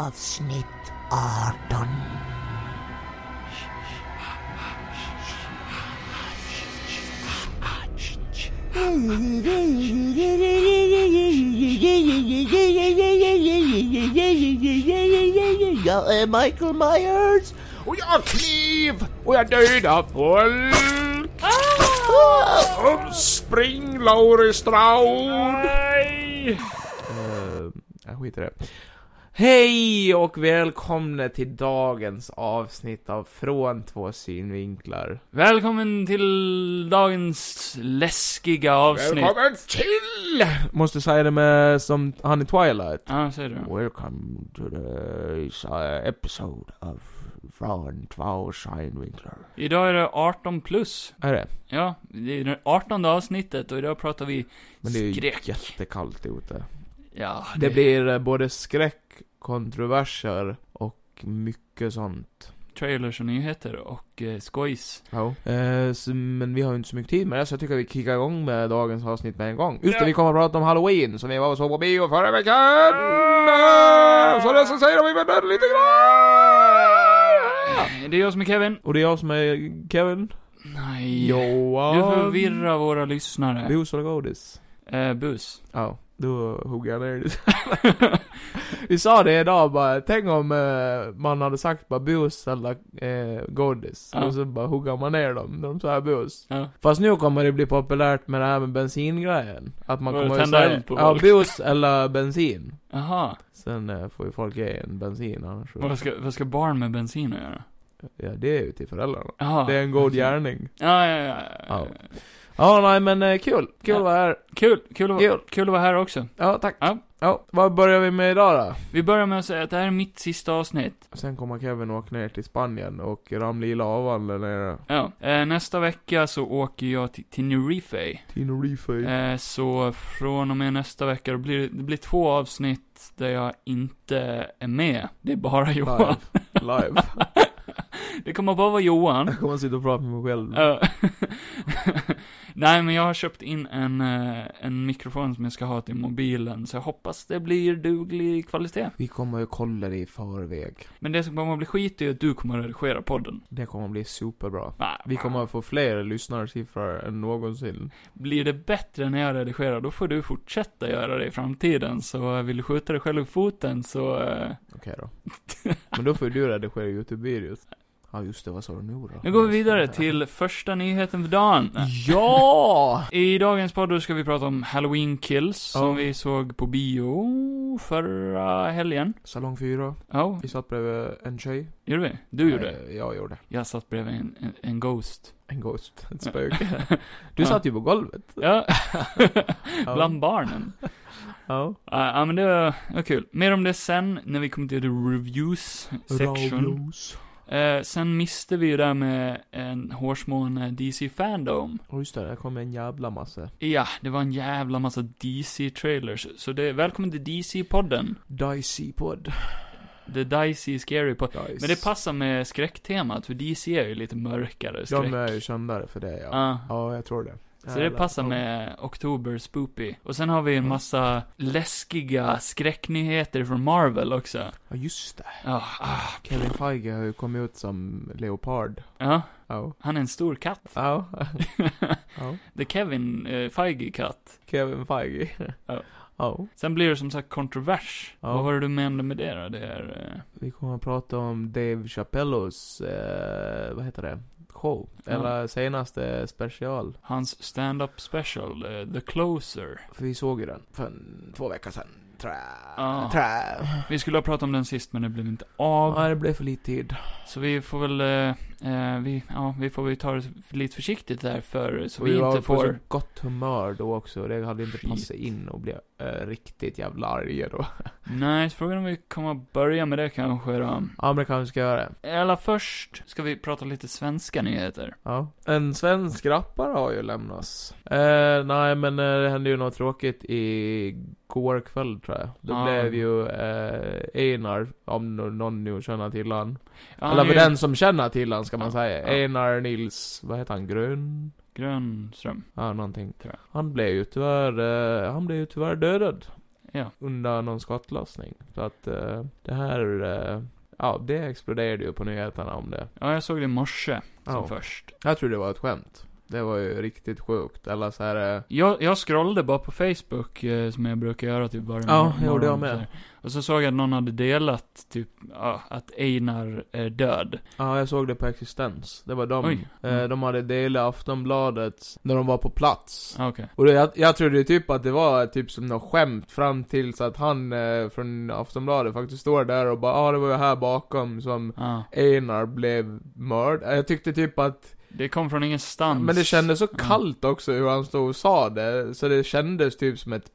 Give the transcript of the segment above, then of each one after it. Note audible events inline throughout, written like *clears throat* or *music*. avsnitt 18. Jag är Michael Myers. Och jag har kniv! Och jag dödar folk! Oh! Oh. Uppspring Laurie Stroud! Nej! Eh, jag skiter i det. Hej och välkomna till dagens avsnitt av Från två synvinklar. Välkommen till dagens läskiga avsnitt. Välkommen till! Måste säga det med som han i Twilight. Ja, säger du. Welcome to this uh, episode of Från två synvinklar. Idag är det 18 plus. Är det? Ja, det är det 18 avsnittet och idag pratar vi Men det är ju skräck. jättekallt ute. Ja, Det blir eh, både skräck, kontroverser och mycket sånt. trailers och nyheter och eh, skojs. Eh, så, men vi har ju inte så mycket tid med det, så jag tycker vi kickar igång med dagens avsnitt med en gång. Just det, Ja. vi kommer att prata om Halloween, som vi var och såg på bio förra veckan! Så det som säger att vi var där lite grann! Eh, Det är jag som är Kevin. Och det är jag som är Kevin. Nej. Johan. Du förvirrar våra lyssnare. Bus eller godis? Eh, bus. Ja, då hugger jag ner det. *laughs* Vi sa det idag bara, tänk om eh, man hade sagt bara bus eller eh, godis. Ja. Och så bara huggar man ner dem när de säger bus. Ja. Fast nu kommer det bli populärt med det här med bensingrejen. Att man Och kommer tända säga, eld på ja folk." bus eller bensin. Aha. Sen eh, får ju folk ge en bensin annars. så- Vad ska, vad ska barn med bensin att göra? Ja, det är ju till föräldrarna. Aha. Det är en god gärning. Ja, ja, ja. Ja. ja. Ja, nej men eh, kul. Kul Ja. att vara här. Kul, kul, att, Kul. vara- kul att vara här också. Ja, tack. Ja. ja, vad börjar vi med idag då? Vi börjar med att säga att det här är mitt sista avsnitt. Sen kommer Kevin åka ner till Spanien och ramla i lavan där nere. Ja, eh, nästa vecka så åker jag till Tenerife. Tenerife. Eh, så från och med nästa vecka, då blir det, det blir två avsnitt där jag inte är med. Det är bara *laughs* Johan. Live. *laughs* Live. Det kommer bara vara Johan. Jag kommer sitta och prata med mig själv. Eh, *laughs* Nej, men jag har köpt in en, eh, en mikrofon som jag ska ha till mobilen, så jag hoppas det blir duglig kvalitet. Vi kommer ju kolla det i förväg. Men det som kommer att bli skit är ju att du kommer att redigera podden. Det kommer bli superbra. Nej, Vi kommer att få fler lyssnarsiffror än någonsin. Blir det bättre när jag redigerar, då får du fortsätta göra det i framtiden. Så eh, vill du skjuta dig själv i foten så... eh, Okej *laughs* då. Men då får ju du redigera Youtube-videos. Ja just det, vad sa du nu då? Nu går vi vidare till första nyheten för dagen. Ja! I dagens podd då ska vi prata om Halloween Kills, Ja. som vi såg på bio förra helgen. Salong 4. Ja, Vi satt bredvid en tjej. gjorde vi? Du gjorde? Nej, Jag gjorde. Jag satt bredvid en, en, en Ghost. En ghost. Ett *laughs* spöke. Du Ja. satt ju på golvet. *laughs* Ja, bland barnen. Ja. Ja, ja, men det var, var kul. Mer om det sen, när vi kommer till the reviews section. Rabios. Eh, sen miste vi ju det där med en hårsmån DC Fandom. Ja just det, där kom en jävla massa. Ja, det var en jävla massa DC-trailers. Så det, välkommen till DC-podden. Dicey-podd. The Dicey Scary Pod. Dice. Men det passar med skräcktemat, för DC är ju lite mörkare skräck. De är ju kändare för det ja. Ja. Ja, jag tror det. Så det passar med Oktober Spoopy. Och sen har vi en massa läskiga skräcknyheter från Marvel också. Ja, just det. Ja, ah, Kevin Feige har ju kommit ut som leopard. ja, Ja. han är en stor katt. *laughs* Ja. Ja. The Kevin eh, Feige-katt. Kevin Feige. Ja. Ja. Sen blir det som sagt kontrovers. Ja. Vad var det du menade med det då? Det är... eh, Vi kommer att prata om Dave Chappellos, eh, vad heter det? Show. Ja. Eller senaste special. Hans stand-up special, eh, The Closer. För vi såg ju den för en, två veckor sedan. Trä. Ja. Trä. Vi skulle ha pratat om den sist men det blev inte av. Ja, det blev för lite tid. Så vi får väl, eh, eh, vi, ja, vi får väl ta det lite försiktigt där för, så Och vi var inte på så får... gott humör då också. Det hade inte Skit. passat in och bli eh, riktigt jävla arg då. Nej, så frågan är om vi kommer att börja med det kanske då. Ja, *laughs* men det kanske ska göra det. Eller först ska vi prata lite svenska nyheter. Ja. En svensk rappare har ju lämnats. Eh, nej, men eh, det hände ju något tråkigt igår kväll tror jag. Då Ja. blev ju eh, Einar, om nå- någon nu känner till han. Ja, han Eller är för ju den som känner till han ska man Ja, säga. ja. Einar Nils, vad heter han? Grön? Grönström. Ja, någonting. Tror jag. Han blev ju tyvärr, eh, han blev ju tyvärr dödad. Ja. undan någon skottlossning. Så att eh, det här, eh, ja, det exploderade ju på nyheterna om det. Ja, jag såg det i morse som Ja. först. Jag tror det var ett skämt. Det var ju riktigt sjukt. Eller så här, eh, Jag, jag scrollade bara på Facebook, eh, som jag brukar göra typ varje Ja, mor- jag gjorde jag morgon, med. så här. Och så såg jag att någon hade delat, typ, ja, att Einar är död. ja, jag såg det på Existens. Det var de. Oj. Mm. Eh, de hade delat Aftonbladet när de var på plats. Ah, Okej. Och det, jag, jag trodde typ att det var typ som något skämt fram tills att han eh, från Aftonbladet faktiskt står där och bara ja ah, det var ju här bakom som Ah, Einar blev mördad. Jag tyckte typ att, det kom från ingenstans. men det kändes så Ja. kallt också hur han stod och sa det. Så det kändes typ som ett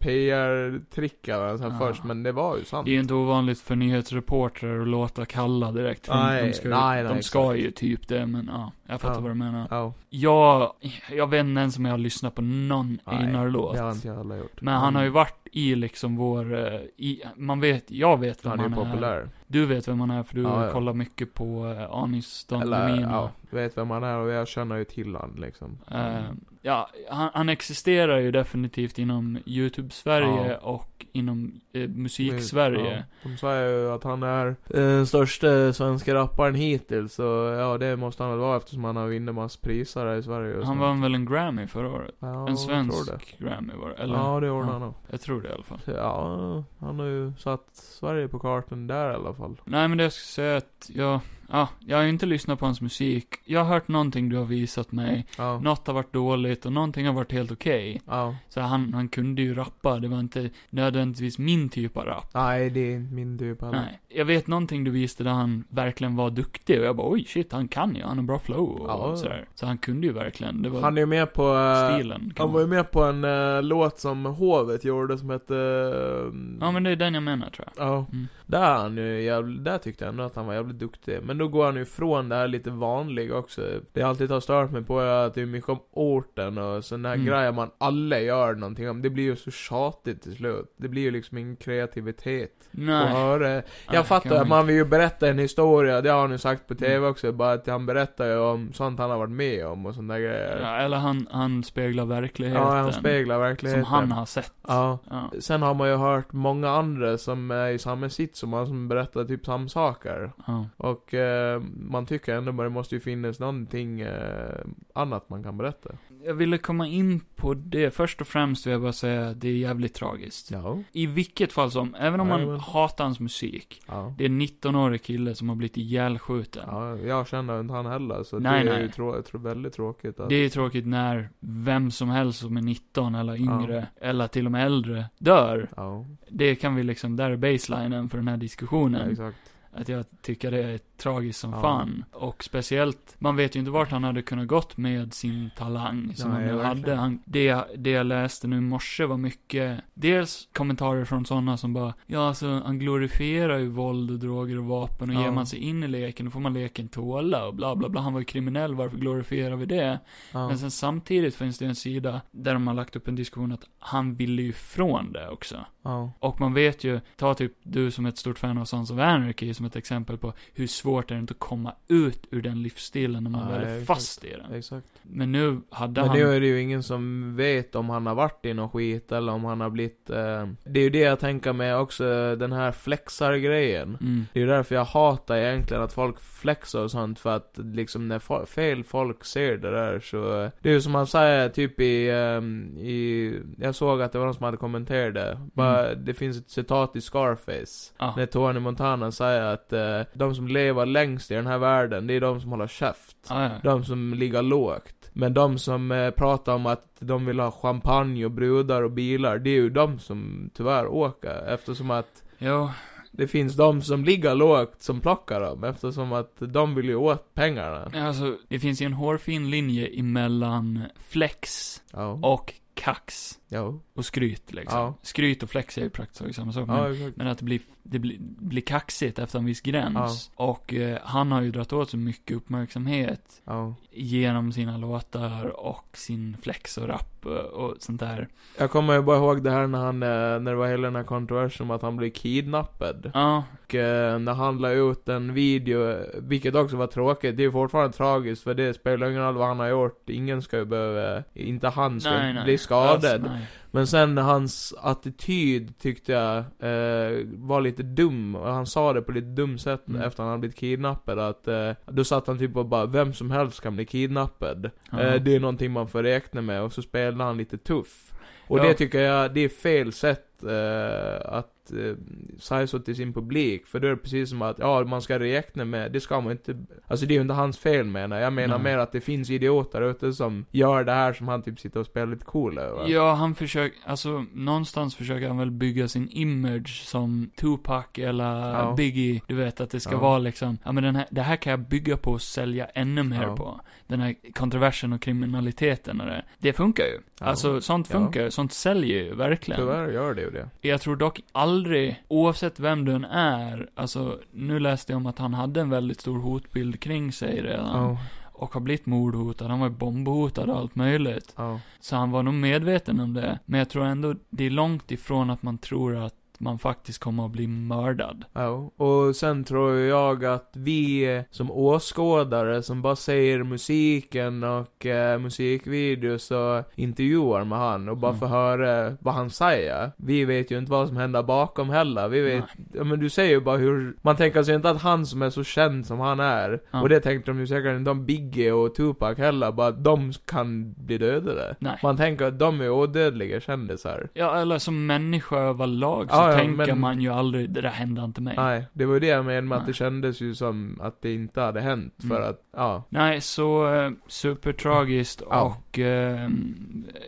PR-trick eller så här Ja. först, men det var ju sant. Det är ju inte ovanligt för nyhetsreportrar att låta kalla direkt. för Nej, de ska, ju- nej, nej, de ska exakt. ju typ det, men ja. Jag fattar Ja. vad du menar. Ja, Jag, jag vet inte ens om jag har lyssnat på någon Nej, Einar-låt. det har inte Mm. jag heller gjort. Men han har ju varit i liksom vår, eh, i, man vet, jag vet vem Han han är är. ju populär. Du vet vem han är för du Ja, ja. kollar mycket på eh, Anis Don Eller, Demina. ja, vet vem han är och jag känner ju till han liksom. Eh, ja, han, han existerar ju definitivt inom YouTube-Sverige Ja. och inom eh, Ja, musik-Sverige. de säger ju att han är eh, den största svenska rapparen hittills, så ja det måste han väl vara eftersom han har vunnit massa priser här i Sverige just han nu. vann väl en Grammy förra året? Ja, jag en tror det. svensk Grammy var det, eller? Ja, det gjorde Ja. han nog. Jag tror det i alla fall. Ja, han har ju satt Sverige på kartan där i alla fall. Nej men det jag skulle säga är att jag, ja, jag har ju inte lyssnat på hans musik. Jag har hört någonting du har visat mig. Ja. Något har varit dåligt och någonting har varit helt okej. ja. Så han, han kunde ju rappa, det var inte nödvändigtvis min typ av rapp. Nej, det är inte min typ heller. Nej. Jag vet någonting du visste där han verkligen var duktig och jag bara oj shit, han kan ju, han har bra flow och Ja. sådär. Så han kunde ju verkligen, det var Han är ju med på... eh, stilen. Kan han var ju med på en eh, låt som Hovet gjorde som hette... eh, Ja men det är den jag menar tror jag. Ja. Mm. Där, är han ju jävligt, där tyckte jag ändå att han var jävligt duktig. Men då går han ju ifrån det här lite vanliga också. Det jag alltid har stört mig på är att det är mycket om orten och sådana här Mm. grejer man alla gör någonting om. Det blir ju så tjatigt till slut. Det blir ju liksom ingen kreativitet. att Nej. höra. Jag nej, fattar kan Mm. att man vill ju berätta en historia, det har han ju sagt på TV också. Bara att han berättar ju om sånt han har varit med om och sådana där inte- grejer. Ja, Ja, eller han, han speglar verkligheten. han speglar verkligheten. Som han har sett. Ja. Ja. Sen har man ju hört många andra som är i samma sits som han som berättar typ samma saker. ja. Och eh, man tycker ändå att det måste ju finnas någonting eh, annat man kan berätta. Jag ville komma in på det. Först och främst vill jag bara säga att det är jävligt tragiskt. Ja. I vilket fall som, även om man Jajamän. hatar hans musik, Ja. Det är en 19-årig kille som har blivit ihjälskjuten. ja jag känner inte han heller, så Nej, det är nej. ju trå- jag tror väldigt tråkigt att... Det är tråkigt när vem som helst som är 19 eller Ja. yngre, eller till och med äldre, dör. Ja, Det kan vi liksom, där är baselinen för den här ja, diskussionen. exakt. att jag tycker det är tragiskt som Ja. fan. Och speciellt, man vet ju inte vart han hade kunnat gått med sin talang som Nej, han nu verkligen. hade. Han, det, det jag läste nu i morse var mycket, dels kommentarer från sådana som bara, ja alltså han glorifierar ju våld och droger och vapen och Ja. ger man sig in i leken då får man leken tåla och bla bla bla. Han var ju kriminell, varför glorifierar vi det? Ja. Men sen samtidigt finns det en sida där de har lagt upp en diskussion att han ville ju ifrån det också. Ja. Och man vet ju, ta typ du som är ett stort fan av Sons of Anarchy som ett exempel på hur svårt är det inte att komma ut ur den livsstilen när man Nej, väl är exakt. fast i den. Exakt. Men nu hade Men han... nu är det ju ingen som vet om han har varit i någon skit eller om han har blivit... Eh... Det är ju det jag tänker med också, den här flexar-grejen. Mm. Det är ju därför jag hatar egentligen att folk flexar och sånt för att liksom när fo- fel folk ser det där så eh, Det är ju som man säger typ i, ehm, i Jag såg att det var någon som hade kommenterat det Bara, Det finns ett citat i Scarface Ja. När Tony Montana säger att eh, De som lever längst i den här världen Det är de som håller käft Ja, ja. De som ligger lågt Men de som eh, pratar om att de vill ha champagne och brudar och bilar Det är ju de som tyvärr åker eftersom att Jo, det finns de som ligger lågt som plockar dem eftersom att de vill ju åt pengarna. alltså det finns ju en hårfin linje emellan flex Ja. och kax Ja. och skryt liksom. Ja. Skryt och flex är ju praktiskt taget samma sak. men- Ja, exakt. Men att det blir, det blir, blir kaxigt efter en viss gräns. Och eh, han har ju dragit åt så mycket uppmärksamhet Ja. genom sina låtar och sin flex och rap eh, och sånt där. Jag kommer ju bara ihåg det här när han, eh, när det var hela den här kontroversen om att han blev kidnappad. Ja, Och eh, när han la ut en video, eh, vilket också var tråkigt, det är ju fortfarande tragiskt för det spelar ingen roll vad han har gjort, ingen ska ju behöva, inte han ska nej, nej. bli skadad. Alltså, nej. Men sen hans attityd tyckte jag eh, var lite dum. Och Han sa det på lite dumt sätt Mm. efter han hade blivit kidnappad. Att, eh, då satt han typ och bara, vem som helst kan bli kidnappad. Eh, det är någonting man får räkna med. Och så spelade han lite tuff. Och Ja. det tycker jag, det är fel sätt eh, att eh, säga så till sin publik. För då är det precis som att, ja man ska räkna med, det ska man inte. Alltså det är ju inte hans fel menar jag. Jag menar Nej. mer att det finns idioter ute som gör det här som han typ sitter och spelar lite cool över. Ja, han försöker, alltså någonstans försöker han väl bygga sin image som Tupac eller Ja. Biggie. Du vet att det ska Ja. vara liksom, ja men den här, det här kan jag bygga på och sälja ännu mer Ja. på. Den här kontroversen och kriminaliteten och det. Det funkar ju. Ja. Alltså sånt Ja. funkar ju, sånt säljer ju verkligen. Tyvärr gör det ju det. Jag tror dock aldrig, oavsett vem den är, alltså nu läste jag om att han hade en väldigt stor hotbild kring sig redan. Ja, Och har blivit mordhotad, han var ju bombhotad och allt möjligt. ja. Så han var nog medveten om det. Men jag tror ändå det är långt ifrån att man tror att man faktiskt kommer att bli mördad. Ja, och sen tror jag att vi som åskådare som bara ser musiken och eh, musikvideos och intervjuar med han och bara Mm. får höra vad han säger. Vi vet ju inte vad som händer bakom heller. Vi vet, ja, men du säger ju bara hur, man tänker sig inte att han som är så känd som han är, Ja. och det tänkte de ju säkert inte om Biggie och Tupac heller, bara att de kan bli dödade. Nej. Man tänker att de är odödliga kändisar. Ja, eller som människa överlag så Ja, ja, tänker men- man ju aldrig, det där hände inte mig. Nej, det var ju det jag menade med att Nej. det kändes ju som att det inte hade hänt, för Mm. att, ja. Nej, så eh, supertragiskt Ja. och eh, mm, eh,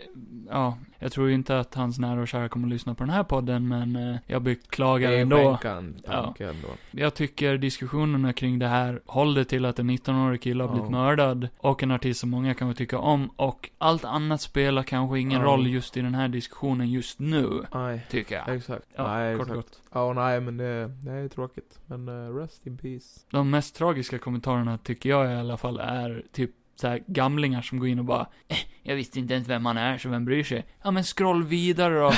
ja, jag tror ju inte att hans nära och kära kommer att lyssna på den här podden men eh, jag beklagar Det är ändå. skänkan, Ja. tanken då. Jag tycker diskussionerna kring det här håller till att en 19-årig kille har Ja. blivit mördad och en artist som många kanske tycker om och allt annat spelar kanske ingen Ja. roll just i den här diskussionen just nu, Nej, tycker jag. exakt. Ja, nej, kort och exakt. gott. Ja, nej, men det, det är tråkigt. Men eh, rest in peace. De mest tragiska kommentarerna tycker jag i alla fall är typ så här gamlingar som går in och bara eh, jag visste inte ens vem han är, så vem bryr sig? Ja men scroll vidare då.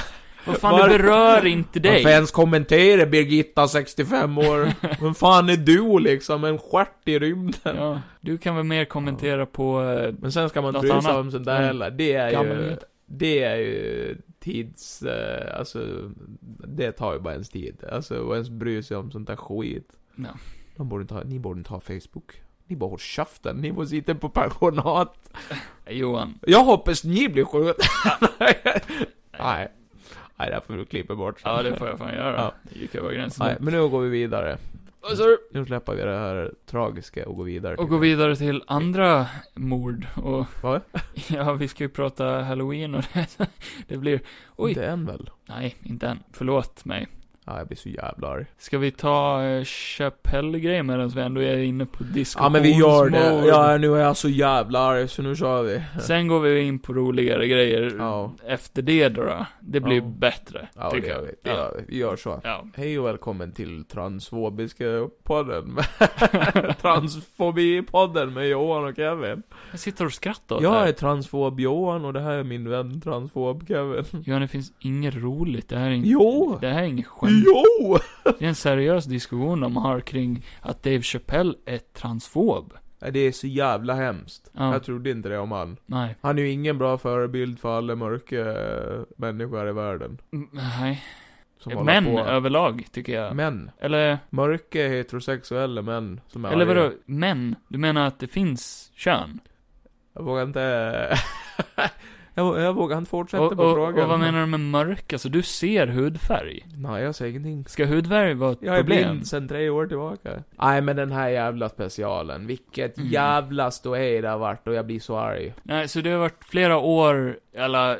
Vad fan, Var- det berör inte dig. Varför ens kommentera Birgitta, 65 år? *laughs* Vem fan är du liksom? En stjärt i rymden. Ja, du kan väl mer kommentera på eh, Men sen ska man inte Något bry sig annat? om sånt där Mm. heller. Det är ju... gamlingar. Det är ju tids... eh, Alltså, det tar ju bara ens tid. Alltså, och ens bry sig om sånt där skit. Ja. De borde inte ha, ni borde inte ha Facebook. Ni bara håll käften, ni borde sitta på pensionat. eh, Johan. Jag hoppas ni blir *laughs* skjutna. Nej. Nej, det här får du klippa bort. Ja, det får jag fan göra. Ja. Det gick över gränsen. Nej, men nu går vi vidare. Vad sa du? Nu släpper vi det här tragiska och går vidare. Och till- gå vidare till andra mord och... *laughs* Vad? Ja, vi ska ju prata halloween och *laughs* det, det blir... Oj. Inte än väl? Nej, inte än. Förlåt mig. Ja, jag blir så jävla arg. Ska vi ta eh, Chapelle-grejen medan vi ändå är inne på diskussionsmord? Ja, men vi gör det. Ja, nu är jag så jävla arg, så nu kör vi. Sen går vi in på roligare grejer Ja. efter det då. då. Det blir Ja. bättre, Ja, det tycker gör jag. vi. Det gör vi. Vi gör så. Ja. Hej och välkommen till Transfobiska podden. *laughs* Transfobi-podden med Johan och Kevin. Jag sitter och skrattar åt det Jag här. är transfob Johan och det här är min vän transfob Kevin. Johan, det finns inget roligt. Det här är inget... Jo! Det här är inget skämt. Jo! Det är en seriös diskussion de har kring att Dave Chappelle är transfob. Nej, Det är så jävla hemskt. Ja. Jag trodde inte det om han. Nej. Han är ju ingen bra förebild för alla mörka eh, människor i världen. Mm, Nej. Som håller Män på. överlag, tycker jag. Män. Eller, Mörka heterosexuella män som är eller arga. vadå, män? Du menar att det finns kön? Jag vågar inte... *laughs* jag, vå- jag vågar inte fortsätta Och, på och, och frågan. vad menar du med mörk? Alltså, du ser hudfärg. Nej, jag säger ingenting. Ska hudfärg vara ett Jag är problem? blind sedan tre år tillbaka. Nej, men den här jävla specialen. Vilket Mm. jävla ståhej det har varit och jag blir så arg. Nej, så det har varit flera år, eller,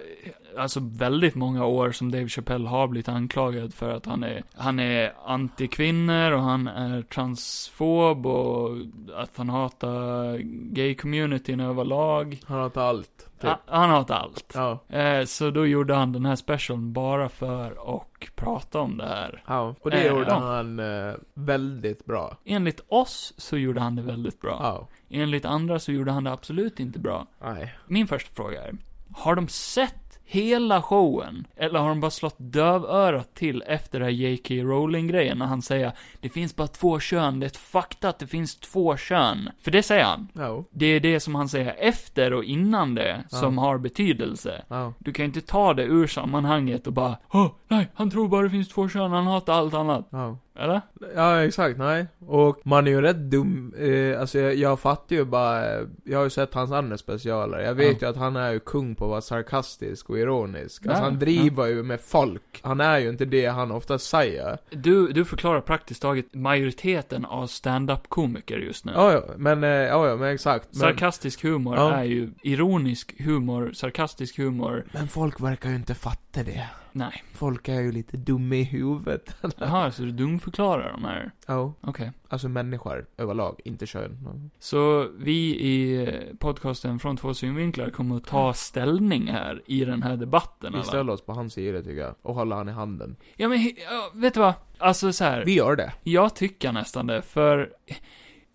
alltså väldigt många år som Dave Chappelle har blivit anklagad för att han är, han är antikvinnor och han är transfob och att han hatar gay-communityn överlag. Han har inte allt. Typ. Ha- Han hatar allt. Ja. Eh, så då gjorde han den här specialen bara för att prata om det här. ja. Och det Eh, gjorde ja. han eh, väldigt bra. Enligt oss så gjorde han det väldigt bra. Ja. Enligt andra så gjorde han det absolut inte bra. Nej. Min första fråga är, har de sett hela showen? Eller har de bara slått dövörat till efter det här J.K. Rowling-grejen när han säger det finns bara två kön, det är ett fakta att det finns två kön. För det säger han. Ja. Det är det som han säger efter och innan det som har betydelse. Ja. Du kan ju inte ta det ur sammanhanget och bara Åh, nej, han tror bara det finns två kön, han hatar allt annat. Ja. Eller? Ja, exakt, nej. Och man är ju rätt dum, eh, alltså jag, jag fattar ju bara, eh, jag har ju sett hans andra specialer. Jag vet Ja. ju att han är ju kung på att vara sarkastisk och ironisk. Alltså Ja, han driver ju med folk. Han är ju inte det han ofta säger. Du, du förklarar praktiskt taget majoriteten av stand-up-komiker just nu. Ja, ja, men, eh, ja, ja, men exakt. Men, Sarkastisk humor Ja. är ju ironisk humor, sarkastisk humor, *laughs* men folk verkar ju inte fatta det. nej. Folk är ju lite dumma i huvudet. *laughs* Jaha, så du dumförklarar de här? Ja, Okej. alltså människor överlag, inte kön. Så vi i eh, podcasten Från två synvinklar kommer att ta ställning här i den här debatten. Vi eller? ställer oss på hans sida tycker jag, och håller han i handen. Ja men, he- ja, vet du vad? Alltså så här. Vi gör det. Jag tycker nästan det, för,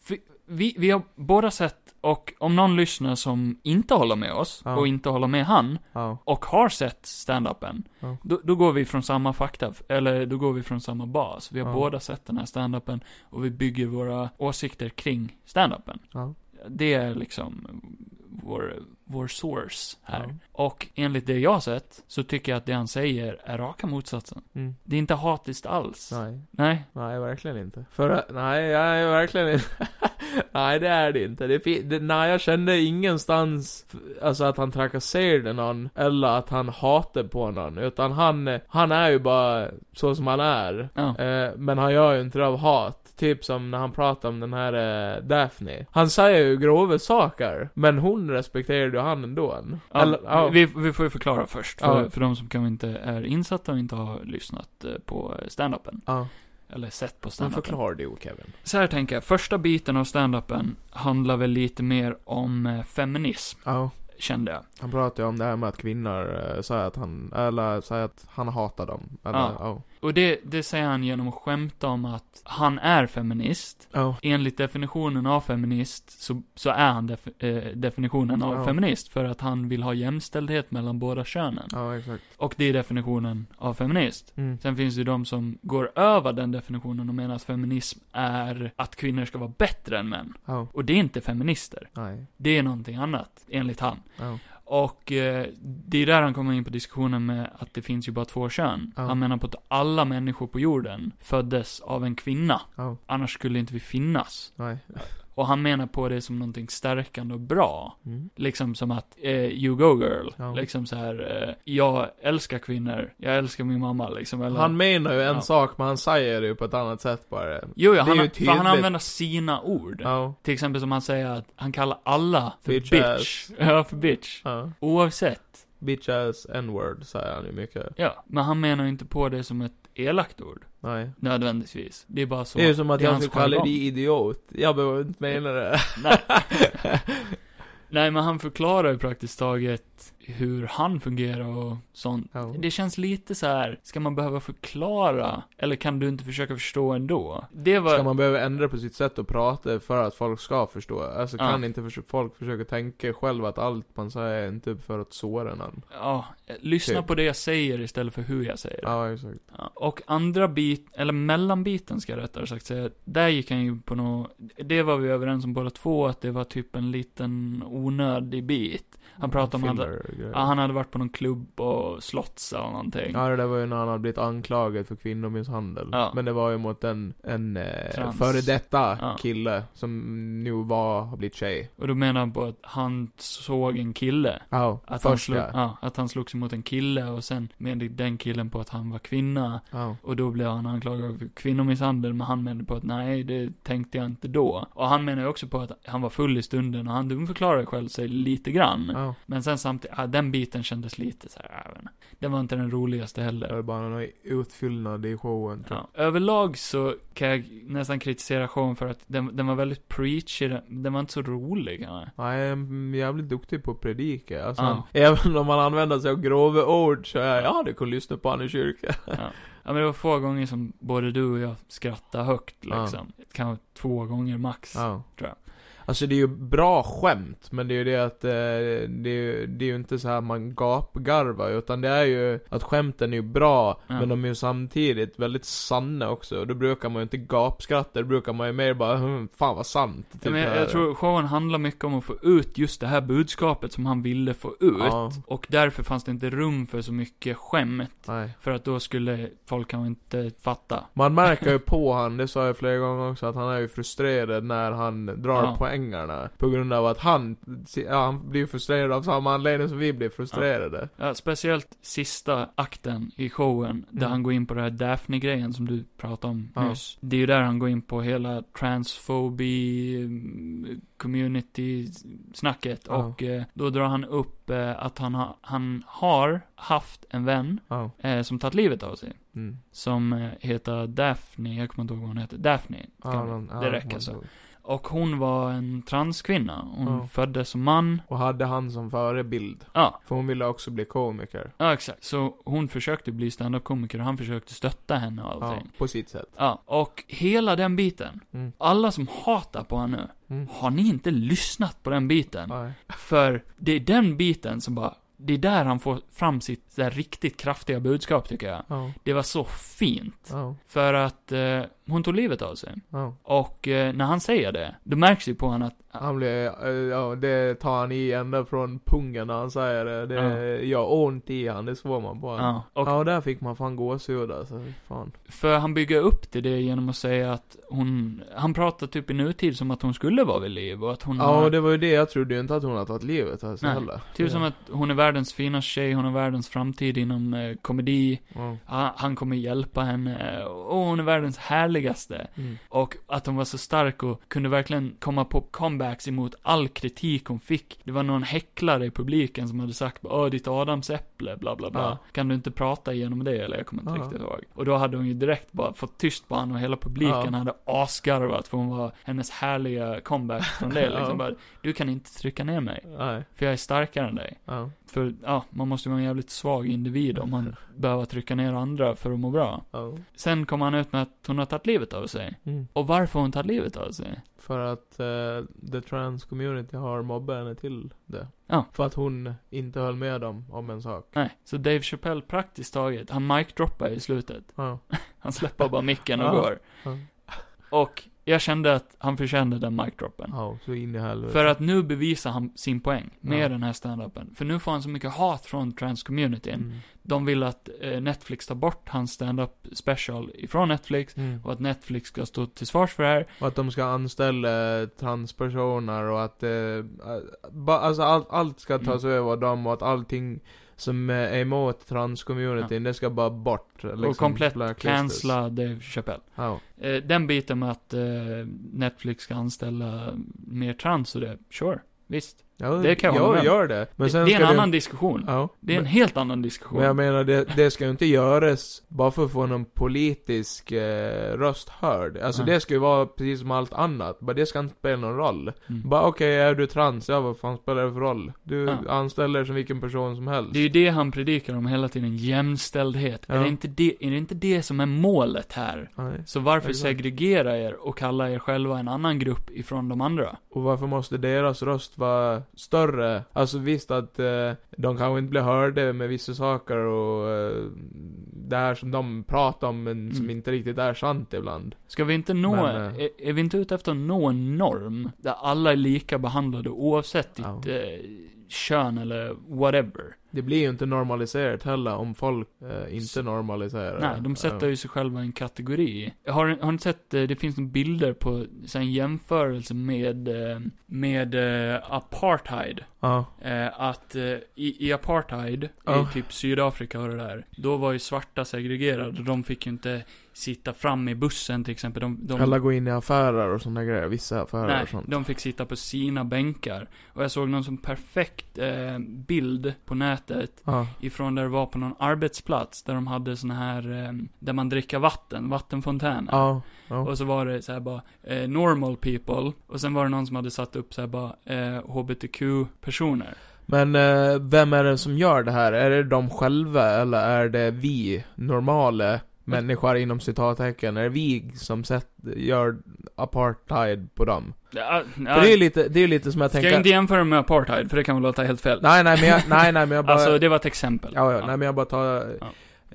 för vi, vi har båda sett, och om någon lyssnar som inte håller med oss, Ja. och inte håller med han, Ja. och har sett stand-upen, Ja. då, då går vi från samma fakta, eller då går vi från samma bas. Vi har Ja. båda sett den här stand-upen och vi bygger våra åsikter kring stand-upen. Ja. Det är liksom vår, vår source här. Ja. Och enligt det jag har sett, så tycker jag att det han säger är raka motsatsen. Mm. Det är inte hatiskt alls. Nej. Nej. Nej, verkligen inte. För, nej, nej, verkligen inte. *laughs* nej, det är det inte. Det, fi- det, nej, jag kände ingenstans, f- alltså att han trakasserade någon, eller att han hatade på någon. Utan han, eh, han är ju bara så som han är. Ja. Eh, men han gör ju inte det av hat. Typ som när han pratar om den här eh, Daphne. Han säger ju grova saker, men hon respekterade ju han ändå. Ja, Eller, ja. vi, vi får ju förklara först, för, Ja. för de som kanske inte är insatta och inte har lyssnat eh, på stand-upen. Ja, Eller sett på men stand-upen. förklara det, Kevin. Så här tänker jag, första biten av stand-upen handlar väl lite mer om eh, feminism, Ja. kände jag. Han pratar ju om det här med att kvinnor eh, säger att han, eller säger att han hatar dem. Eller, Ja. ja. Och det, det säger han genom att skämta om att han är feminist. Ja. Enligt definitionen av feminist så, så är han def, eh, definitionen av Ja. feminist för att han vill ha jämställdhet mellan båda könen. Ja, exakt. Och det är definitionen av feminist. Mm. Sen finns det ju de som går över den definitionen och menar att feminism är att kvinnor ska vara bättre än män. Ja. Och det är inte feminister. Nej. Det är någonting annat, enligt han. Ja. Och eh, det är där han kommer in på diskussionen med att det finns ju bara två kön. Ja. Han menar på att alla människor på jorden föddes av en kvinna. Ja. Annars skulle inte vi finnas. Nej. Och han menar på det som någonting stärkande och bra. Mm. Liksom som att, eh, you go girl. Ja. Liksom så här, eh, jag älskar kvinnor. Jag älskar min mamma liksom. Eller, Han menar ju en Ja. sak, men han säger det ju på ett annat sätt bara. Jo, ja, Det är ju han, för han tydligt. använder sina ord. Ja. Till exempel som han säger att han kallar alla för Bitch bitch. Ja, för bitch. ja. Oavsett. Bitch ass n-word säger han ju mycket. Ja, men han menar ju inte på det som ett elakt ord. Nej. Nödvändigtvis. Det är bara så. det är ju som att det är jag hans skulle kalla jargong. dig idiot. Jag behöver inte mena det. *laughs* Nej. Nej, men han förklarar ju praktiskt taget hur han fungerar och sånt. Ja. *laughs* Det känns lite så här. ska man behöva förklara? Eller kan du inte försöka förstå ändå? Det var... Ska man behöva ändra på sitt sätt att prata för att folk ska förstå? Alltså Ja. kan inte förs- folk försöka tänka själva att allt man säger är inte för att såra någon? Ja, lyssna Typ. på det jag säger istället för hur jag säger det. Ja, exakt. Ja, Och andra bit, eller mellanbiten ska jag rättare sagt säga, där gick han ju på något, det var vi överens om båda två, att det var typ en liten onödig bit. Mm, Han pratade om att Filler-grejer. ja, han hade varit på någon klubb och slåtts eller någonting. typ. Ja, det där var ju när han hade blivit anklagad för kvinnomisshandel. Ja. Men det var ju mot en, en eh, Trans. före detta Ja. kille som nu var, har blivit tjej. Och då menar han på att han såg en kille. Ja, Att han, slog, första. ja, att han slog sig mot en kille och sen menade den killen på att han var kvinna. Ja. Och då blev han anklagad för kvinnomisshandel, men han menade på att nej, det tänkte jag inte då. Och han menar ju också på att han var full i stunden och han dumförklarade själv sig lite grann. Ja. Men sen samtidigt, ja, den biten kändes lite så här, jag vet inte. Den var inte den roligaste Det heller. var bara någon utfyllnad i showen. tror Ja. Överlag så kan jag nästan kritisera showen för att den, den var väldigt preachy, den, den var inte så rolig kanske. jag. Nej, han är jävligt duktig på att predika. Alltså, Ja. han, *laughs* även om han använder sig av grova ord så är ja, du kunde lyssna på han i kyrkan. Ja men det var få gånger som både du och jag skrattade högt liksom. Kanske två gånger max. Ja. Tror jag. Alltså det är ju bra skämt, men det är ju det att eh, det, är ju, det är ju inte så här man gapgarvar, utan det är ju att skämten är ju bra, Ja. men de är ju samtidigt väldigt sanna också. Och då brukar man ju inte gapskratta, då brukar man ju mer bara "Hm, 'Fan vad sant' typ Ja, men jag, här. jag tror showen handlar mycket om att få ut just det här budskapet som han ville få ut. Ja, Och därför fanns det inte rum för så mycket skämt. nej. För att då skulle folk kanske inte fatta. Man märker ju på han, det sa jag flera gånger också, att han är ju frustrerad när han drar Ja. poängarna. På grund av att han, ja, han blir ju frustrerad av samma anledning som vi blir frustrerade. Ja, speciellt sista akten i showen, där Mm. han går in på den här Daphne-grejen som du pratade om Ja. nyss. Det är ju där han går in på hela transfobi mm, community-snacket. Ja. Och eh, då drar han upp eh, att han, ha, han har haft en vän Ja. eh, som tagit livet av sig. Mm. Som eh, heter Daphne, jag kommer inte ihåg vad hon heter. Daphne. Ja, kan- någon- ja, det räcker man- så. Och hon var en transkvinna. Hon Ja. föddes som man. Och hade han som förebild. Ja, För hon ville också bli komiker. ja exakt. Så hon försökte bli standup-komiker och han försökte stötta henne och Ja, allting. på sitt sätt. Ja. och hela den biten. Mm. Alla som hatar på henne nu, Mm. har ni inte lyssnat på den biten? Nej. För det är den biten som bara, det är där han får fram sitt så här, riktigt kraftiga budskap tycker jag. Ja, Det var så fint. ja, För att eh, hon tog livet av sig. ja. Och eh, när han säger det, då märks det på honom att, Han blir, eh, ja det tar han i ända från pungen när han säger det. Det gör ont i han, det svor man på han. ja, och Mm. Ja, där fick man fan gåshud alltså. Fan. För han bygger upp till det genom att säga att hon, han pratar typ i nutid som att hon skulle vara vid liv och att hon Ja, har, och det var ju det. Jag trodde ju inte att hon hade tagit livet alltså Nej. heller. typ som att hon är världens finaste tjej, hon har världens framtid inom eh, komedi, Ja. mm. han, han kommer hjälpa henne och hon är världens härligaste. Mm. Och att hon var så stark och kunde verkligen komma på comebacks emot all kritik hon fick. Det var någon häcklare i publiken som hade sagt Åh, ditt adamsäpple, bla bla bla. Ja. Kan du inte prata igenom det? Eller jag kommer inte Ja. riktigt ihåg. Och då hade hon ju direkt bara fått tyst på honom och hela publiken Ja. hade asgarvat för hon var hennes härliga comeback *laughs* från det. Liksom Ja. bara, du kan inte trycka ner mig, Nej. för jag är starkare än dig. Ja. För, ja, man måste ju vara en jävligt svag individ om man behöver trycka ner andra för att må bra. ja. Sen kom han ut med att hon har tagit livet av sig. Mm. Och varför hon tagit livet av sig? För att eh, the trans community har mobbat henne till det. Ja. För att hon inte höll med dem om en sak. Nej, så Dave Chappelle praktiskt taget, han micdroppar i slutet. Ja. Han släpper bara micken *laughs* och Ja. går. Ja. Och jag kände att han förtjänade den micdroppen. Ja, så in i helvete. För att nu bevisar han sin poäng med Ja. den här standupen. För nu får han så mycket hat från trans-communityn. Mm. De vill att eh, Netflix tar bort hans standup special ifrån Netflix. Mm. Och att Netflix ska stå till svars för det här. Och att de ska anställa transpersoner och att eh, ba, alltså allt, allt ska tas Mm. över av dem och att allting som eh, är emot transcommunityn, det ska bara bort. Liksom, och komplett blacklistas. cancella Dave Chappelle. Ja. Eh, den biten med att eh, Netflix ska anställa mer trans och det, sure. Visst. Ja, Det kan jag ja, hålla med om. gör det. Men Det- sen det är en ska annan diskussion. Ja. Det är en men, helt annan diskussion. men jag menar, det, det ska ju inte göras bara för att få någon politisk eh, röst hörd. Alltså Nej. det ska ju vara precis som allt annat, bara det ska inte spela någon roll. Mm. Bara okej, är du trans? Ja, vad fan spelar det för roll? Du Ja. anställer dig som vilken person som helst. Det är ju det han predikar om hela tiden, jämställdhet. Är, Ja. det inte det, är det inte det som är målet här? Nej. Så varför Exakt. segregera er och kalla er själva en annan grupp ifrån de andra? Och varför måste deras röst vara större? Alltså visst att eh, de kanske inte blir hörda med vissa saker och eh, det här som de pratar om men som Mm. inte riktigt är sant ibland. Ska vi inte nå, Men, eh, är, är vi inte ute efter att nå en norm där alla är lika behandlade oavsett ditt Ja. eh, kön eller whatever? Det blir ju inte normaliserat heller om folk eh, inte Så- normaliserar Nej, de sätter ju sig själva i en kategori. Har, har ni sett, eh, det finns några bilder på, så här, en jämförelse med, eh, med eh, apartheid. Ja. Eh, att eh, i, i apartheid, Ja. i typ Sydafrika och det där, då var ju svarta segregerade. De fick ju inte sitta fram i bussen till exempel. De, de, Alla går in i affärer och sådana grejer, vissa affärer nej, och sånt. de fick sitta på sina bänkar. Och jag såg någon sån perfekt eh, bild på nätet Ja. ifrån där det var på någon arbetsplats där de hade sån här, eh, där man dricker vatten, vattenfontäner. Ja. Ja. Och så var det så här bara, eh, normal people. Och sen var det någon som hade satt upp så här bara, eh, HBTQ-personer. Men eh, vem är det som gör det här? Är det de själva eller är det vi normala människor inom citattecken, är det vi som sätt, gör apartheid på dem? Ja, ja, För det är ju lite, det är ju lite som jag Ska jag tänker... inte jämföra med apartheid, för det kan väl låta helt fel. Nej, nej, men jag, nej, nej, men jag bara... Alltså, det var ett exempel. Ja, ja, nej men jag bara tar... Ja.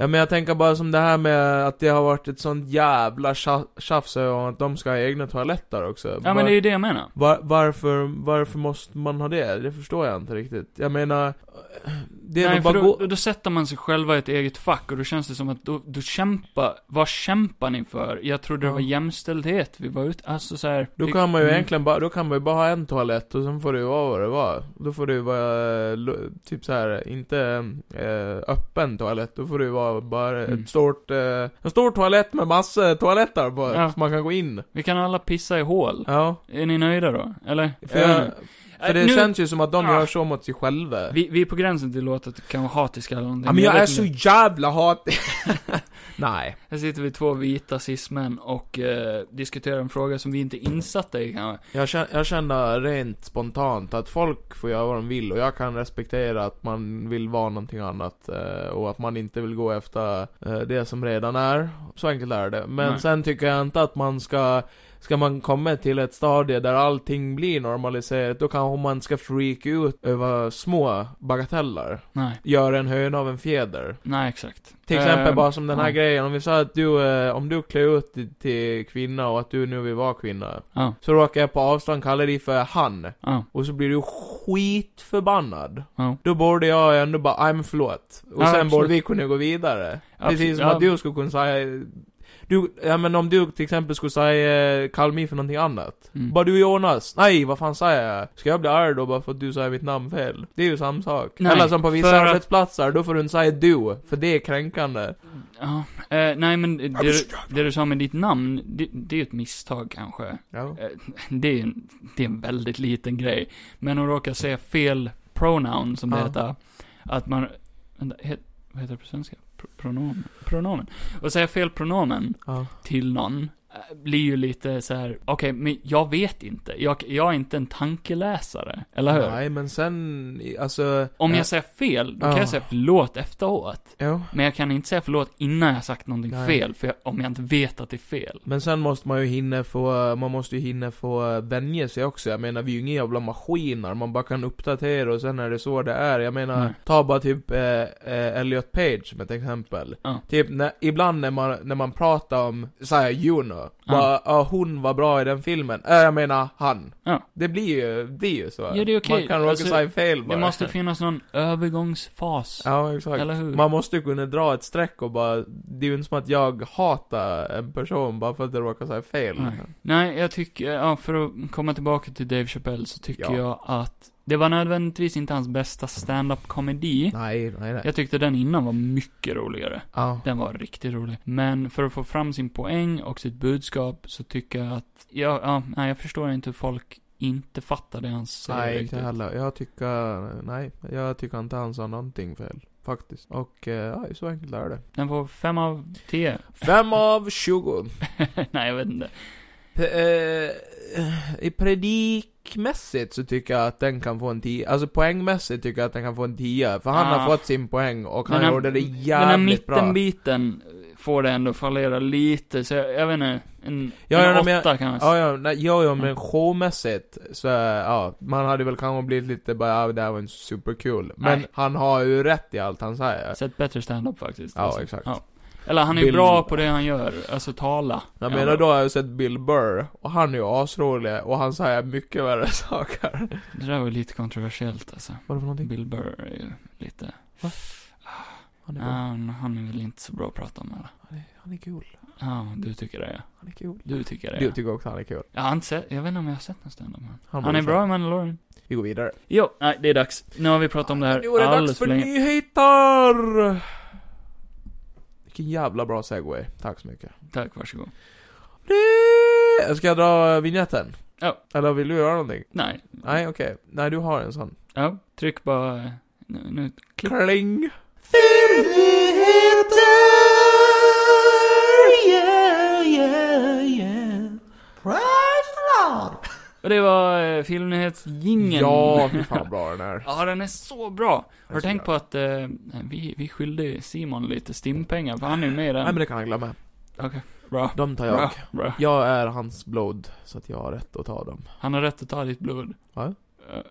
Ja. men jag tänker bara som det här med att det har varit ett sånt jävla tja- tjafs om att de ska ha egna toaletter också. Ja, men det är ju det jag menar. Var, varför, varför måste man ha det? Det förstår jag inte riktigt. Jag menar, det är Nej, väl för bara då, gå... då, då sätter man sig själva i ett eget fack och då känns det som att då, då kämpa, vad kämpar ni för? Jag trodde det var Ja. jämställdhet vi var ute, alltså så här, Då det- kan man ju Mm. egentligen bara, då kan man ju bara ha en toalett och sen får det ju vara vad det var. Då får det ju vara, eh, lo- typ så här inte eh, öppen toalett. Då får det ju vara bara Mm. ett stort, eh, en stor toalett med massa toaletter på. Ja. Så man kan gå in. Vi kan alla pissa i hål. Ja. Är ni nöjda då? Eller? För, Ja. jag, för Äh, det nu- känns ju som att de Ah. gör så mot sig själva. vi, vi är på gränsen till att låta att kan vara hatiska eller någonting. ja, men jag vet är inte. så jävla hatig. *laughs* Nej. Här sitter vi två vita cismän och eh, diskuterar en fråga som vi inte är insatta i kanske. Jag känner, jag känner rent spontant att folk får göra vad de vill och jag kan respektera att man vill vara någonting annat eh, och att man inte vill gå efter eh, det som redan är. Så enkelt är det. Men Nej. sen tycker jag inte att man ska Ska man komma till ett stadie där allting blir normaliserat, då kanske man ska freaka ut över små bagateller. Nej, Göra en höna av en fjäder. nej exakt. Till exempel Eh, bara som den här ja. grejen, om vi sa att du, eh, om du klär ut dig till kvinna och att du nu vill vara kvinna. Ja, Så råkar jag på avstånd kalla dig för han. ja, Och så blir du skitförbannad. ja. Då borde jag ändå bara, nej men förlåt. Och sen Ja, absolut. borde vi kunna gå vidare. Precis som ja. att du skulle kunna säga, du, ja men om du till exempel skulle säga, eh, kalla mig för någonting annat. Mm. Bara du Jonas, nej vad fan säger jag? Ska jag bli arg då bara för att du säger mitt namn fel? Det är ju samma sak. Nej, Eller som på för vissa att- arbetsplatser, då får du inte säga du, för det är kränkande. Ja, eh, nej men det, du- det du sa med ditt namn, det, det är ju ett misstag kanske. *laughs* Ja. Eh, det, är, en- det är en väldigt liten grej. Men hon råkar säga fel pronoun, som det Ja. heter. Att man, vänta, he, vad heter det på svenska? Pro, pronomen? Pronomen. Och säga fel pronomen Ja. till någon eh, blir ju lite så här. okej, men jag vet inte. Jag, jag är inte en tankeläsare, eller hur? Nej, men sen, i- alltså... Om ja, jag säger fel, då kan Ja. jag säga förlåt efteråt. ja. Men jag kan inte säga förlåt innan jag sagt någonting Nej. fel, för jag, om jag inte vet att det är fel. Men sen måste man ju hinna få, man måste ju hinna få eh, vänja sig också. Jag menar, vi är ju inga jävla maskiner, man bara kan uppdatera och sen är det så det är. Jag menar, Nej. ta bara typ eh, eh, Elliot Page som ett exempel. Ja. Typ, när, ibland när man, när man pratar om, såhär, Juno. Ja. Bara, ja, hon var bra i den filmen. Äh, jag menar, han. Ja. Det blir ju, det är ju så. Ja, det är okej. Man kan råka Alltså, säga fel bara. Det måste finnas någon övergångsfas. Ja, exakt. Eller hur? Man måste ju kunna dra ett streck och bara, det är ju inte som att jag hatar en person bara för att det råkar säga fel. Nej. Nej, jag tycker, ja, för att komma tillbaka till Dave Chappelle så tycker Ja. jag att det var nödvändigtvis inte hans bästa stand-up-komedi. Nej, nej, nej. Jag tyckte den innan var mycket roligare. Ja. Den var riktigt rolig. Men för att få fram sin poäng och sitt budskap så tycker jag att, ja, ja nej, jag förstår inte hur folk inte fattar det han säger Nej, inte riktigt. heller. Jag tycker, nej, jag tycker inte han sa någonting fel. Faktiskt. Och, eh, ja, så enkelt är det. Den får fem av tio. *laughs* Fem av 20. nej, jag vet inte. P- eh, I predikmässigt så tycker jag att den kan få en 10. Alltså poängmässigt tycker jag att den kan få en 10. För han Ah. har fått sin poäng och han Men den- gjorde det Den här jävligt bra. mittenbiten får det ändå fallera lite, så jag, jag vet inte, en, Ja, en ja, men jag- åtta kan jag säga. Ja, ja, nej, ja, ja, Mm. men showmässigt så, ja, man hade väl kanske blivit lite bara, ja, det här var inte superkul. Men Nej. han har ju rätt i allt han säger. Sett bättre stand-up faktiskt. Ja, alltså. exakt. Ja. Eller han är ju Bill- bra på det han gör, alltså tala. Jag Ja. menar då har jag ju sett Bill Burr, och han är ju asrolig, och han säger mycket värre *laughs* saker. Det där var ju lite kontroversiellt alltså. Vad är det för någonting? Bill Burr är ju lite... Han är, Ja, Han, han är väl inte så bra att prata om eller? han är cool. Ja, du tycker det ja. Han är cool. Du tycker det Du ja. tycker också han är cool. Jag har inte sett, jag vet inte om jag har sett någon stand-up men. Han Han borde är bra i Mandalorian. se. Vi går vidare. Jo, nej det är dags. Nu har vi pratat om det Nu är här det dags alldeles för för länge. nyheter! Vilken jävla bra segway. Tack så mycket. Tack, varsågod. Det- Ska jag dra vignetten? Ja. Eller vill du göra någonting? Nej. Nej, okej. Nej, du har en sån. Ja, tryck bara... eh, Nu, nu. Klipp. Kling! Nyheter! Yeah, yeah, yeah. Price Och det var eh, filmnyhetsjingeln. Ja, fy fan bra den är. *laughs* Ja, den är så bra. Har du så tänkt på bra. att eh, vi, vi skyllde Simon lite stimpengar, för han är ju med i Nej men den. det kan jag glömma. Okej, bra. De tar jag. Bra, bra. Jag är hans blod, så att jag har rätt att ta dem. Han har rätt att ta ditt blod. *laughs* Ja.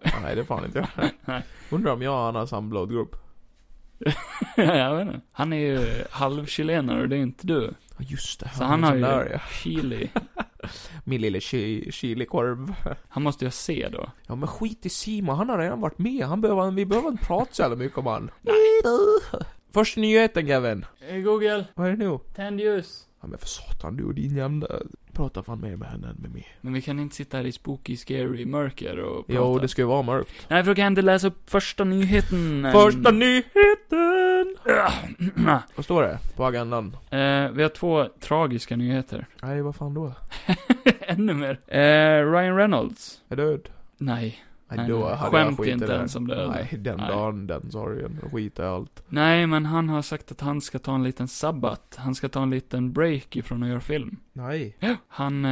Eh, Nej, det är fan inte jag. *laughs* Nej. Undrar om jag och han har samma blodgrupp. jag vet inte. Han är ju halvchilenare och det är inte du. Ja, just det. Så han har Där, ju ja. chili. Min lille chi- chilikorv. Han måste ju se då. Ja men skit i Simon, han har redan varit med. Han behöver, vi behöver inte prata så jävla mycket om han. Första nyheten Kevin. Google, Vad är det nu? tänd ljus. Ja men för satan du och din jävla... Prata fan mer med henne än med mig. Men vi kan inte sitta här i spooky, scary mörker och prata. Jo, det ska ju vara mörkt. Nej, för då kan jag inte läsa upp första nyheten. Första nyheten! nyheten! Vad står det på agendan? *clears throat* Eh, vi har två tragiska nyheter. *laughs* Nej, vad fan då? Ännu mer. Eh, Ryan Reynolds. Är död? Nej. Nej, Nej, då nej. hade Skämt jag skit i inte det. ens om det. Nej, den Nej. dagen, den sorgen. Då skiter jag i allt. Nej, men han har sagt att han ska ta en liten sabbat. Han ska ta en liten break ifrån att göra film. *gasps* Nej. Han, eh,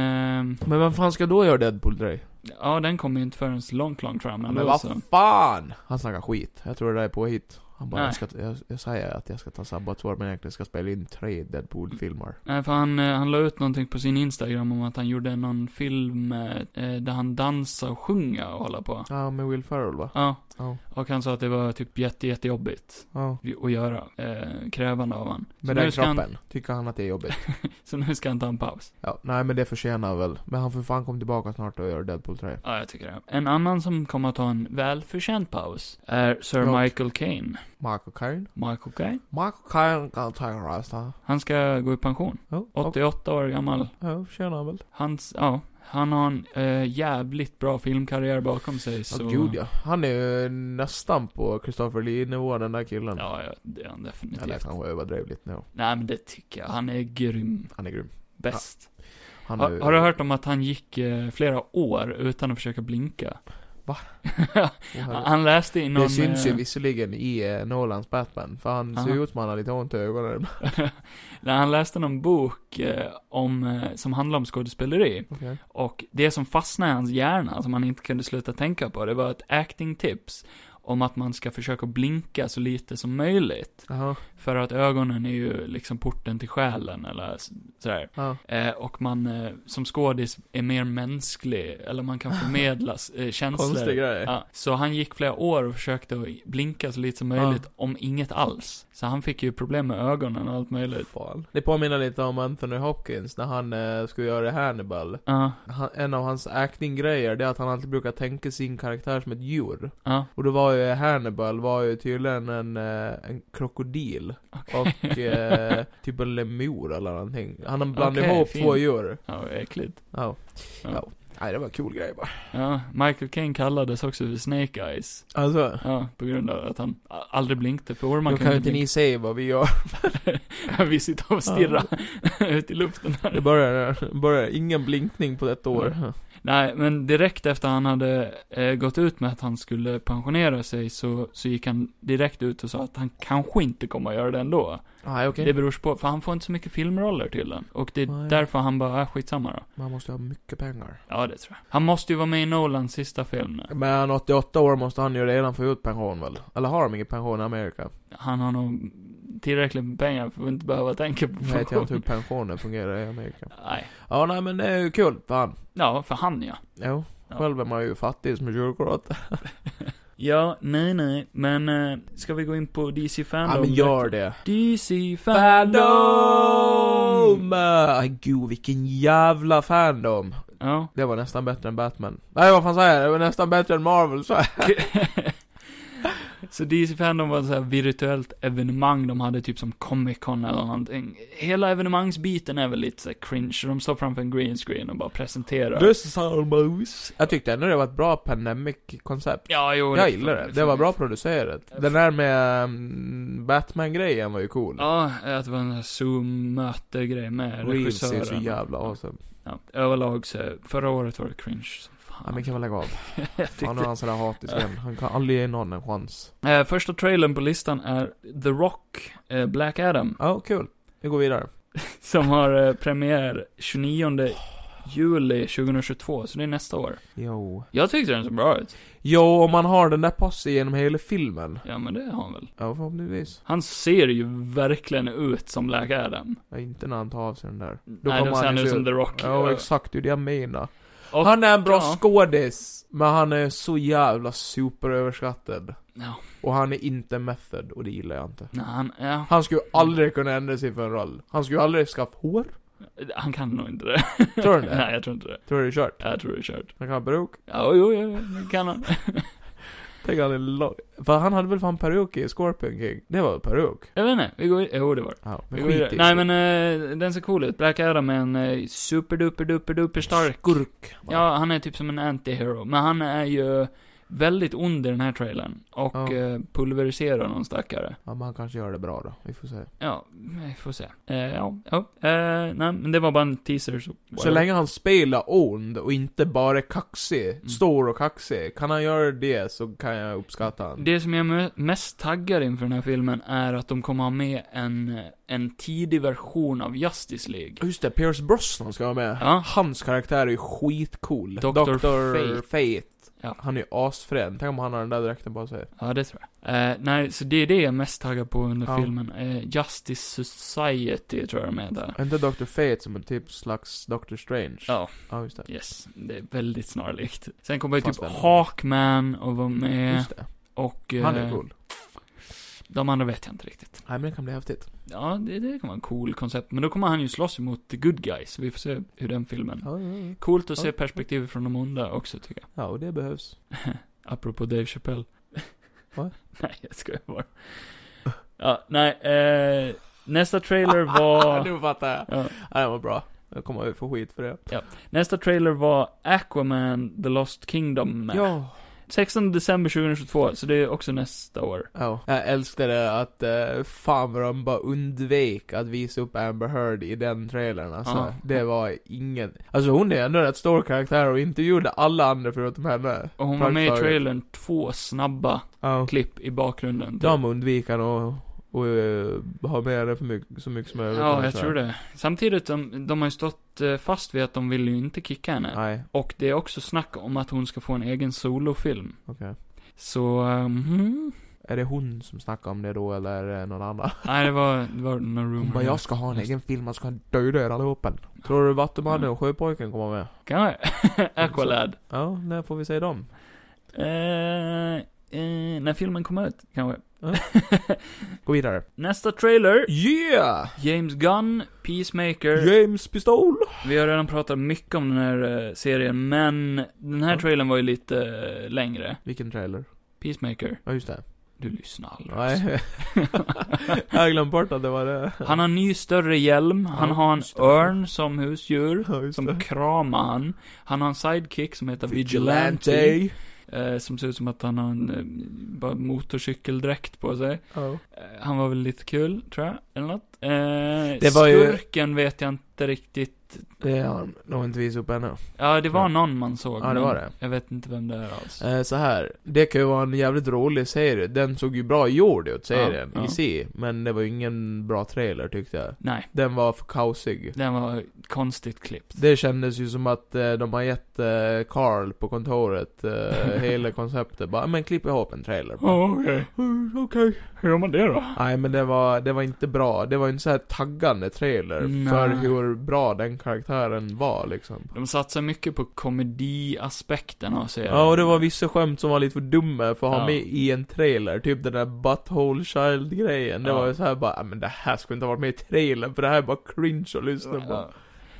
Men vem fan ska då göra Deadpool 3? ja den kommer ju inte förrän långt, långt fram Ja, Alltså. ändå men så. vad fan! Han snackar skit. Jag tror det där är påhitt. Han bara, Nej. jag, ska, jag, jag säger att jag ska ta sabbatsår men egentligen ska jag spela in tre Deadpool-filmer. Nej, för han, eh, han la ut någonting på sin Instagram om att han gjorde någon film eh, eh, där han dansar och sjunger och håller på. Ja, med Will Ferrell va? Ja. Ja. Och han sa att det var typ jätte, jättejobbigt Ja. att göra. Eh, krävande av han. Så Med nu den ska han- kroppen. Tycker han att det är jobbigt? *laughs* Så nu ska han ta en paus. Ja, nej men det förtjänar väl. Men han får fan komma tillbaka snart och göra Deadpool 3. Ja, jag tycker det. En annan som kommer att ta en välförtjänt paus är Sir Ja. Michael Caine. Michael Caine? Michael Caine? Michael Caine kan ta en resa. Han ska gå i pension. Ja, och- 88 år gammal. Ja, förtjänar han väl. Hans, ja, han har en eh, jävligt bra filmkarriär bakom sig Ja, så... gud ja. Han är ju nästan på Christopher Lee-nivå den där killen. Ja, ja, det är han Eller definitivt. kanske överdrev lite nu. Nej, men det tycker jag. Han är grym. Han är grym. Bäst. Han Ha, är, har du hört om att han gick eh, flera år utan att försöka blinka? *laughs* Va? Åh, herregud. han läste i någon... Det syns ju eh, visserligen i eh, Nolans Batman, för han ser Aha. ut som han har lite ont i ögonen. *laughs* när han läste någon bok eh, om, eh, som handlade om skådespeleri. Okej. Och det som fastnade i hans hjärna, som han inte kunde sluta tänka på, det var ett acting tips om att man ska försöka blinka så lite som möjligt. Jaha. För att ögonen är ju liksom porten till själen eller s- sådär. Ja. Eh, och man eh, som skådis är mer mänsklig, eller man kan *laughs* förmedla s- eh, känslor. Konstig grej. Ja, så han gick flera år och försökte att blinka så lite som möjligt, om inget alls. Så han fick ju problem med ögonen och allt möjligt. Fan. Det påminner lite om Anthony Hopkins när han eh, skulle göra Hannibal. Ja, Han, en av hans acting-grejer, det är att han alltid brukar tänka sin karaktär som ett djur. ja, Och då var ju Hannibal, var ju tydligen en, eh, en krokodil. Och eh, typ en lemur eller någonting. Han blandade Okej, ihop fint. två djur. ja, vad äckligt. Ja. Ja. ja. Nej, det var en cool grej bara. Ja, Michael Caine kallades också för Snake Eyes. Alltså. Ja, på grund av att han a- aldrig blinkte, för ormar Då kan kan ju inte ni säga vad vi gör. *laughs* blinka. Vi sitter och stirrar *laughs* ut i luften Det här. börjar, börjar ingen blinkning på ett år. Nej, men direkt efter han hade eh, gått ut med att han skulle pensionera sig så, så gick han direkt ut och sa att han kanske inte kommer att göra det ändå. Nej okej. Det beror på, för han får inte så mycket filmroller tydligen. Och det är Nej. därför han bara, äh, skitsamma då. Man måste ha mycket pengar. Ja, det tror jag. Han måste ju vara med i Nolans sista film nu. Men 88 år måste han ju redan få ut pension väl? Eller har de ingen pension i Amerika? Han har nog tillräckligt med pengar för att inte behöva tänka på Jag vet jag inte hur pension. pensionen fungerar i Amerika. *laughs* Nej. Ja nej men det är ju kul, fan. Ja, för han ja. Jo. Ja. Själv är man ju fattig som en kyrkoråtta. Ja, nej, nej, men eh, ska vi gå in på DC Fandom? Ja men gör det. DC Fandom! Fandom! Ay, gud vilken jävla fandom. Ja. Det var nästan bättre än Batman. Nej vad fan säger jag? Det var nästan bättre än Marvel så. *laughs* Så DC Fandom var ett så här virtuellt evenemang de hade typ som Comic Con eller någonting. Hela evenemangsbiten är väl lite så här cringe, de står framför en green screen och bara presenterar. This is our moose. Jag tyckte ändå det var ett bra pandemic-koncept. Ja, jo. Jag gillar det. Det var bra producerat. Den där med mm, Batman-grejen var ju cool. Ja, att det var en sån här zoom-möte-grej med Reels är så regissören. jävla awesome. Ja, överlag så, förra året var det cringe som fan. Ja, men kan vi lägga av? *laughs* Jag tyckte- Äh. Fan, nu är han sådär hatisk igen. Han kan aldrig ge någon en chans. Eh, första trailern på listan är The Rock, eh, Black Adam, Ja, kul. Vi går vidare. som har eh, premiär 29 juli 2022, så det är nästa år. Jo. Jag tyckte den såg bra ut. Jo, om man har den där posse genom hela filmen. Ja, men det har han väl. Ja, förhoppningsvis. Han ser ju verkligen ut som Black Adam. Ja, inte när han tar av sig den där. Nej, kommer då ser han ju ut se som The Rock. Ja, exakt. Det är det jag menar. Och- han är en bra ja. skådis, men han är så jävla superöverskattad. Ja. Och han är inte method, och det gillar jag inte. Nej, han, ja. Han skulle aldrig kunna ändra sig för en roll. Han skulle aldrig skaffa *laughs* hår. han kan nog inte det. Tror du det? Nej, jag tror inte det. Tror du det är kört? Jag tror det är kört. Han kan ha peruk. Ja, jo, jo, jo, det kan han. Tänk han är lång. För han hade väl fan peruk i Scorpion King? Det var väl peruk? Jag vet inte, vi går vid- Jo, det var det. Ja, vi men går vidare. skit i Nej det. men eh, den ser cool ut. Black Adam är en eh, superduper duper duper stark. Skurk. Ja, han är typ som en anti-hero. Men han är ju väldigt ond i den här trailern. Och Ja. eh, pulveriserar någon stackare. Ja, men han kanske gör det bra då. Vi får se. Ja, vi får se. Eh, ja, ja. Eh, nej, men det var bara en teaser. Så, Så länge han spelar ond och inte bara är kaxig, Mm. stor och kaxig, kan han göra det så kan jag uppskatta han. Det som jag är me- mest taggar inför den här filmen är att de kommer ha med en, en tidig version av Justice League. Just det, Pierce Brosnan ska vara med. Ja. Hans karaktär är ju skitcool. Dr. Fate. Ja. Han är ju asfrän. Tänk om han har den där dräkten på sig. Ja, det tror jag. Eh, nej, så det är det jag är mest taggad på under Ja. filmen. Eh, Justice Society tror jag de heter. Är inte Dr. Fate som en typ slags Dr. Strange? Ja, Ja, just det. yes. Det är väldigt snarlikt. Sen kommer ju typ Fast väldigt. Hawkman och vara med. Just det. Och... Han är eh, cool. De andra vet jag inte riktigt. Nej, men det kan bli häftigt. Ja, det, det kan vara en cool koncept. Men då kommer han ju slåss emot The Good Guys. Vi får se hur den filmen... Ja, ja, ja. Coolt att Ja. se perspektivet från de onda också, tycker jag. ja och det behövs. Apropå Dave Chappelle. Va? *laughs* nej, jag skojar bara. Ja, nej, eh, Nästa trailer Ah, *laughs* var... nu fattar jag. Ja. Ja, det var bra. Jag kommer att få skit för det. Nästa trailer var Aquaman The Lost Kingdom. med. Ja. 16 december 2022, så det är också nästa år. Ja, jag älskade att uh, fan vad de bara undvek att visa upp Amber Heard i den trailern alltså. Ja. Det var ingen... Alltså hon är ändå en rätt stor karaktär och intervjuade alla andra förutom henne. Och hon var med i Praktiskt taget. trailern två snabba Ja. klipp i bakgrunden. typ. De undviker och, och eh, ha med henne för mycket, så mycket som möjligt. Ja, jag alltså. tror det. Samtidigt, de, de har ju stått eh, fast vid att de vill ju inte kicka henne. Nej, Och det är också snack om att hon ska få en egen solofilm. okej. Så, mhm. Är det hon som snackar om det då eller är det någon annan? Nej, det var, det var någon rumor. Hon bara, jag ska ha en egen film, jag ska döda er allihopa. Tror du Vattumannen och Sjöpojken kommer med? Kanske. *laughs* Aqualad. Ja, när får vi se dem? Eh, eh, när filmen kommer ut, kanske. Gå vidare. Nästa trailer. Yeah! James Gunn, Peacemaker. James Pistol! Vi har redan pratat mycket om den här eh, serien, men den här Ja. trailern var ju lite eh, längre. Vilken trailer? Peacemaker, Ja, just det. du lyssnar aldrig. alltså. Mm. Nej. *laughs* jag har glömt bort att det var det. *laughs* Han har en ny större hjälm, han Ja, har en just det. örn som husdjur, Ja, just som det. kramar han. Han har en sidekick som heter Vigilante, eh, som ser ut som att han har en eh, bara motorcykeldräkt på sig. Ja. Eh, Han var väl lite kul, tror jag, eller något. Eh, Det var ju- Skurken vet jag inte riktigt. Det har han nog inte visat upp ännu. Ja, det var Ja. någon man såg. Ja, det men var det. Jag vet inte vem det är alls. Eh, så här. det kan ju vara en jävligt rolig serie. Den såg ju bra gjord ut, serien, Ja, ja. i sig. Men det var ju ingen bra trailer tyckte jag. Nej. Den var för kaosig. Den var konstigt klippt. Det kändes ju som att eh, de har gett eh, Carl på kontoret *laughs* eh, hela konceptet. Bara, men klipp ihop en trailer. bara. Oh, okej. Mm, Okej. Hur gör man det då? Nej men det var, det var inte bra. Det var en så här taggande trailer Nej. för hur bra den karaktären var liksom. De satsar mycket på komediaspekten av serien. Ja och det var vissa skämt som var lite för dumma för att ha Ja. med i en trailer. Typ den där butthole child grejen. Det Ja. var ju så här bara, "Ah, men det här skulle inte ha varit med i trailern för det här är bara cringe att lyssna på. Ja.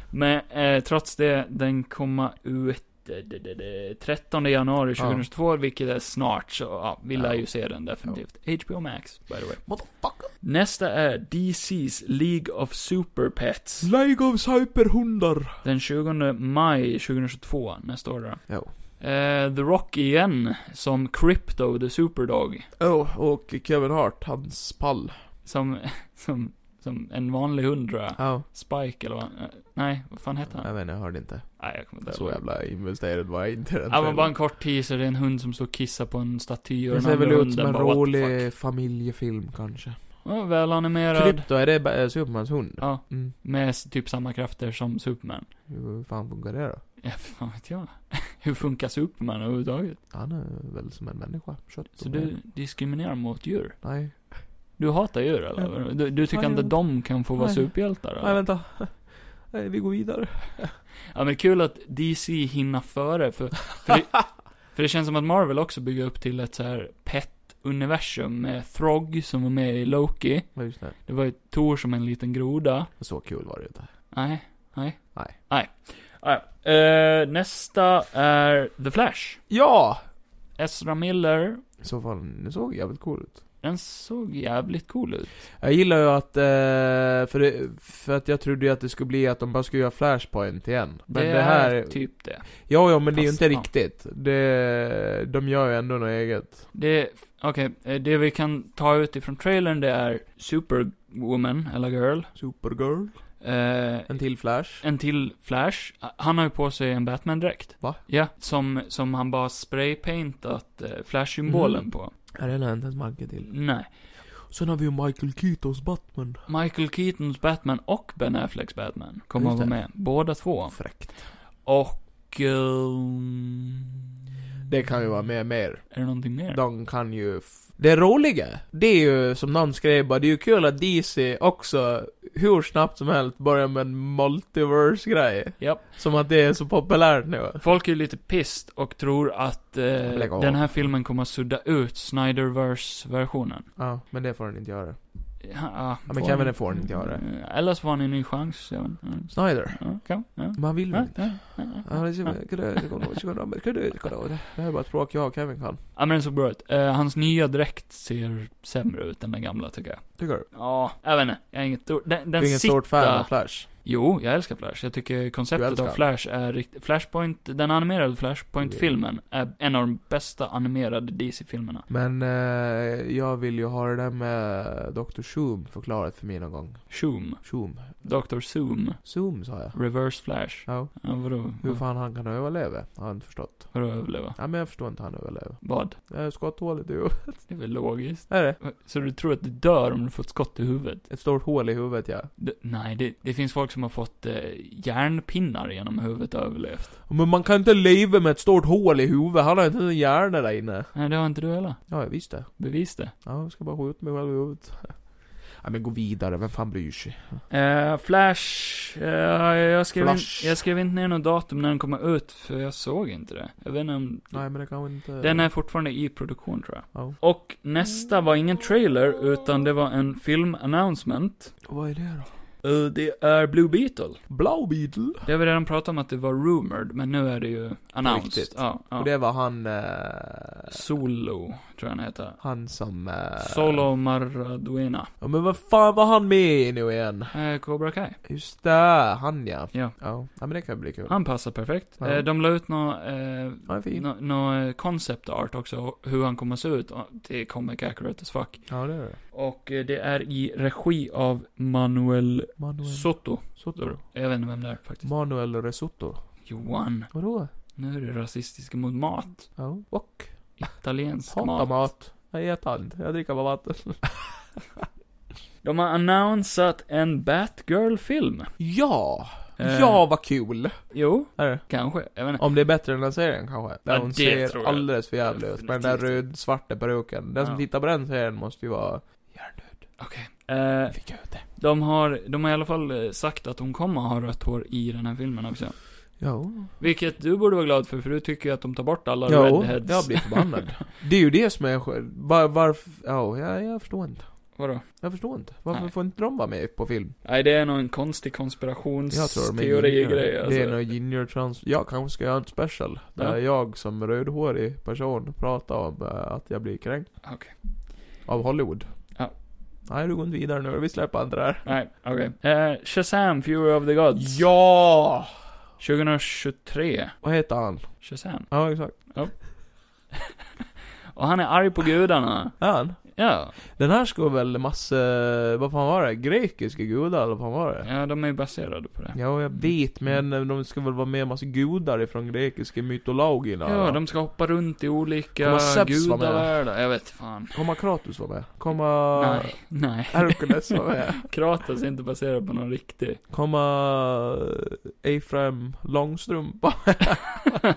Men eh, trots det, den kommer ut eh, d- d- d- 13 januari 2022, vilket är snart, så ja, vi lär ju se den definitivt. HBO Max, by the way. Motherfucker. Nästa är DC's League of Super Pets. League of superhundar. Den 20 maj 2022, nästa år då. Jo. Eh, The Rock igen, som Crypto the Superdog. Oh, och Kevin Hart, hans pall. Som, *laughs* som, som en vanlig hund tror jag. Ja. Spike eller vad eh, Nej, vad fan hette Jag han? vet inte, jag hörde inte. Nej, jag kommer inte Så ihåg. jävla investerad var jag inte i den Ja, men trailern. bara en kort teaser. Det är en hund som står och kissar på en staty och Det den ser andra väl ut hunden som en bara, "What the fuck?" rolig familjefilm kanske. Ja, välanimerad. Krypto, är det ba- eh, Supermans hund? Ja, Mm. med s- typ samma krafter som Superman. Hur fan funkar det då? Ja, fan vet jag. *laughs* Hur funkar Superman överhuvudtaget? Han är väl som en människa. Kött och Så ben. du diskriminerar mot djur? Nej. Du hatar djur eller? Du, du tycker Nej, inte jag- de kan få vara Nej. superhjältar Nej, eller? vänta. *laughs* Nej, vi går vidare. Ja men kul att DC hinner före för, *laughs* för, det, för det känns som att Marvel också bygger upp till ett så här pet universum med Throg som var med i Loki. Ja, just det. Det var ju Thor som en liten groda. Så kul var det ju inte. Nej, nej. Nej. Nej. Ah, ja. Eh, nästa är The Flash. Ja! Ezra Miller. I så fall, det såg jävligt cool ut. Den såg jävligt cool ut. Jag gillar ju att, eh, för, det, för att jag trodde ju att det skulle bli att de bara skulle göra Flashpoint igen. Men det, här, är typ det. ja ja men det är ju Fast, inte ja. riktigt. Det, de gör ju ändå något eget. Det, okej, eh, det vi kan ta ut ifrån trailern det är Superwoman, eller girl. Supergirl. Eh, En till Flash. en till Flash. Han har ju på sig en Batman-dräkt. Va? Ja, som, som han bara spraypaintat eh, Flash-symbolen Mhm. på. Ja, den har jag inte ens märke till. Nej. Sen har vi ju Michael Keatons Batman. Michael Keatons Batman och Ben Afflecks Batman kommer Just att vara det. med. Båda två. Fräckt. Och... ehm, Det kan ju vara med mer. Är det någonting mer? De kan ju... F- det roliga, det är ju som någon skrev bara, det är ju kul att DC också, hur snabbt som helst, börjar med en multiverse-grej. Japp. Som att det är så populärt nu. Folk är ju lite pissed och tror att eh, Lägg av. den här filmen kommer att sudda ut Snyderverse-versionen. Ja, men det får den inte göra. Ja, ah, men Kevin, det får han inte göra. Eh, Eller så får han en ny chans. Jag vet inte. Snyder. Ja, kan, ja. Man vill väl Ja, inte? ja, ja, Ja, ja. det är- kan du- kan du- kan du- kan du- kan du- Det här är bara ett språk jag och Kevin kan. ja, men den såg bra ut. Eh, hans nya dräkt ser sämre ut än den gamla, tycker jag. Tycker du? Ja, jag vet inte. Jag är inget stor... Den, Du den är ingen stort fan av Flash? Jo, jag älskar Flash. Jag tycker Du konceptet älskar av den. Flash är riktigt... Flashpoint, den animerade Flashpoint-filmen är en av de bästa animerade DC-filmerna. Men eh, jag vill ju ha det där med Dr. Zoom förklarat för mig någon gång. Shoom. Zoom. Dr. Zoom. Zoom sa jag. Reverse Flash. Ja. Ja, vadå? Hur fan han kan överleva? Har jag inte förstått. Vadå överleva? Ja, men jag förstår inte hur han överlever. Vad? Eh, Skotthålet i huvudet. Det är väl *laughs* logiskt? Är det? Så du tror att du dör om du får ett skott i huvudet? Ett stort hål i huvudet, ja. Det, nej, det, det finns folk som har fått eh, järnpinnar genom huvudet och överlevt. Men man kan inte leva med ett stort hål i huvudet. Han har inte ens en hjärna där inne. Nej, det har inte du heller. Ja, jag visste. Bevis det. Ja, jag ska bara skjuta mig själv i huvudet. *laughs* Ja, men gå vidare. Vem fan bryr sig? Eh, Flash. Eh, jag, skrev Flash. In, jag skrev inte ner något datum när den kommer ut, för jag såg inte det. Jag vet inte om... Nej, men det kan inte... Den är fortfarande i produktion tror jag. Ja. Och nästa var ingen trailer, utan det var en film-announcement. Vad är det Eh, det är Blue Beetle. då? Blow Beetle? Det har vi redan pratat om att det var rumored, men nu är det ju announced. riktigt. Ja, ja. Och det var han... Eh, Solo, tror jag han heter. han som... Eh, Solo Maraduena. Ja, men vad fan var han med i nu igen? Eh, Cobra Kai. Just det, han ja. Ja. Ja, ja men det kan ju bli kul. Han passar perfekt. Ja. Eh, de la ut nå, eh, Han är fin. nå, nå eh, concept art också, hur han kommer se ut. Och Det är comic accurate as fuck. Ja, det är det. Och eh, det är i regi av Manuel Manuel... Soto. Soto. Jag vet inte vem det är faktiskt. Manuel Risotto. Johan, Vadå? nu är du rasistisk mot mat. Ja. Och? Mm. Italiensk Hatar mat. mat. Jag äter inte. Jag dricker bara vatten. De har annonsat en Batgirl-film. *laughs* Ja! Eh, Ja, vad kul! Jo, Är *laughs* det? kanske. Jag vet inte. Om det är bättre än den här serien kanske? Där Ja, hon det tror ser jag. alldeles för jävlig ut med den där Definitivt. röd-svarta peruken. Den Ja. som tittar på den serien måste ju vara... Okej. Eh, Fick jag ut det? de har, de har i alla fall eh, sagt att hon kommer ha rött hår i den här filmen också. Jo. Vilket du borde vara glad för, för du tycker ju att de tar bort alla Jo, redheads. jag blir förbannad. *laughs* det är ju det som är... sk- Var, varför... Ja, jag, jag förstår inte. Vadå? Jag förstår inte. Varför Nej. får inte de vara med på film? Nej, det är nog en konstig Jag tror de är konspirationsteori-grej junior. alltså. Det är nog junior trans... Jag kanske ska göra en special. Där Ja. jag som rödhårig person pratar om eh, att jag blir kränkt. Okej. Av Hollywood. Ja. Nej, du går inte vidare nu. Vi släpper inte det här. Nej, okej. Eh, Shazam, Fury of the Gods. Ja! 2023. Vad heter han? Shazam. Ja, exakt. Och han är arg på gudarna. Är han? Ja, Den här ska väl massa, vad fan var det? Grekiska gudar eller vad fan var det? ja de är ju baserade på det. Ja, jag vet, men de ska väl vara med en massa gudar ifrån grekiska mytologierna? Ja, va? de ska hoppa runt i olika Kommer Zeus vara med? gudavärldar. Jag vet fan. Kommer Kratos vara med? Kommer Nej, nej. Herkules vara *laughs* med? Kratos är inte baserad på någon riktig. Kommer Efraim eh, *laughs* Långstrump vara med?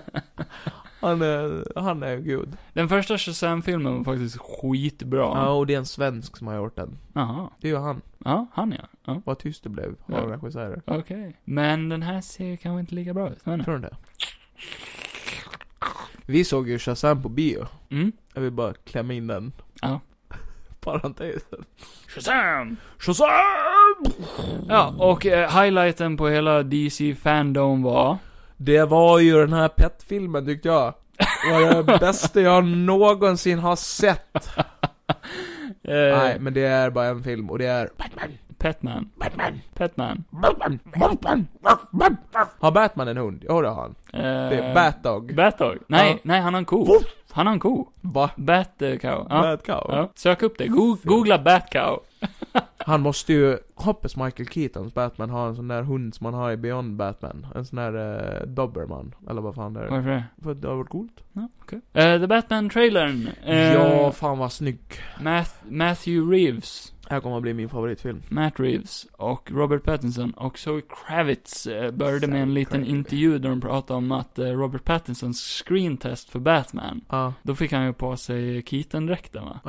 Han är, han är gud. Den första Shazam-filmen var faktiskt skitbra. Ja, och det är en svensk som har gjort den. Jaha. Det är ju han. Ja, han ja. ja. Vad tyst det blev av Ja. regissörer. Okej. Men den här ser kanske inte lika bra ut. Jag vet inte. Tror du det? Vi såg ju Shazam på bio. Mm. Jag vill bara klämma in den. Ja. *laughs* Parentesen. Shazam! Shazam! Ja, och eh, highlighten på hela DC Fandom var... Det var ju den här Pet-filmen tyckte jag. Det var det bästa jag någonsin har sett. *laughs* Eh, Nej, men det är bara en film och det är Batman, Petman. Batman, Petman. Batman, Batman, Batman. Har Batman en hund? Jo, det har han. Eh, Det är Batdog. Batdog. Nej, Ja. nej, han har en ko. Han har en ko. Va? Batcow. Ja. Batcow? ja. Sök upp det. Go googla Batcow. Han måste ju, hoppas Michael Keatons Batman har en sån där hund som man har i Beyond Batman. En sån där eh, Doberman, eller vad fan det är. Varför det? För det har varit coolt. Ja, okej. Eh, The Batman-trailern. Eh, ja, fan vad snygg. Math Matthew Reeves. Det här kommer att bli min favoritfilm. Matt Reeves och Robert Pattinson och Zoe Kravitz eh, började med en Zoe liten Kravitz. intervju där de pratade om att eh, Robert Pattinsons screentest för Batman, Ja. då fick han ju på sig Keaton-dräkten va?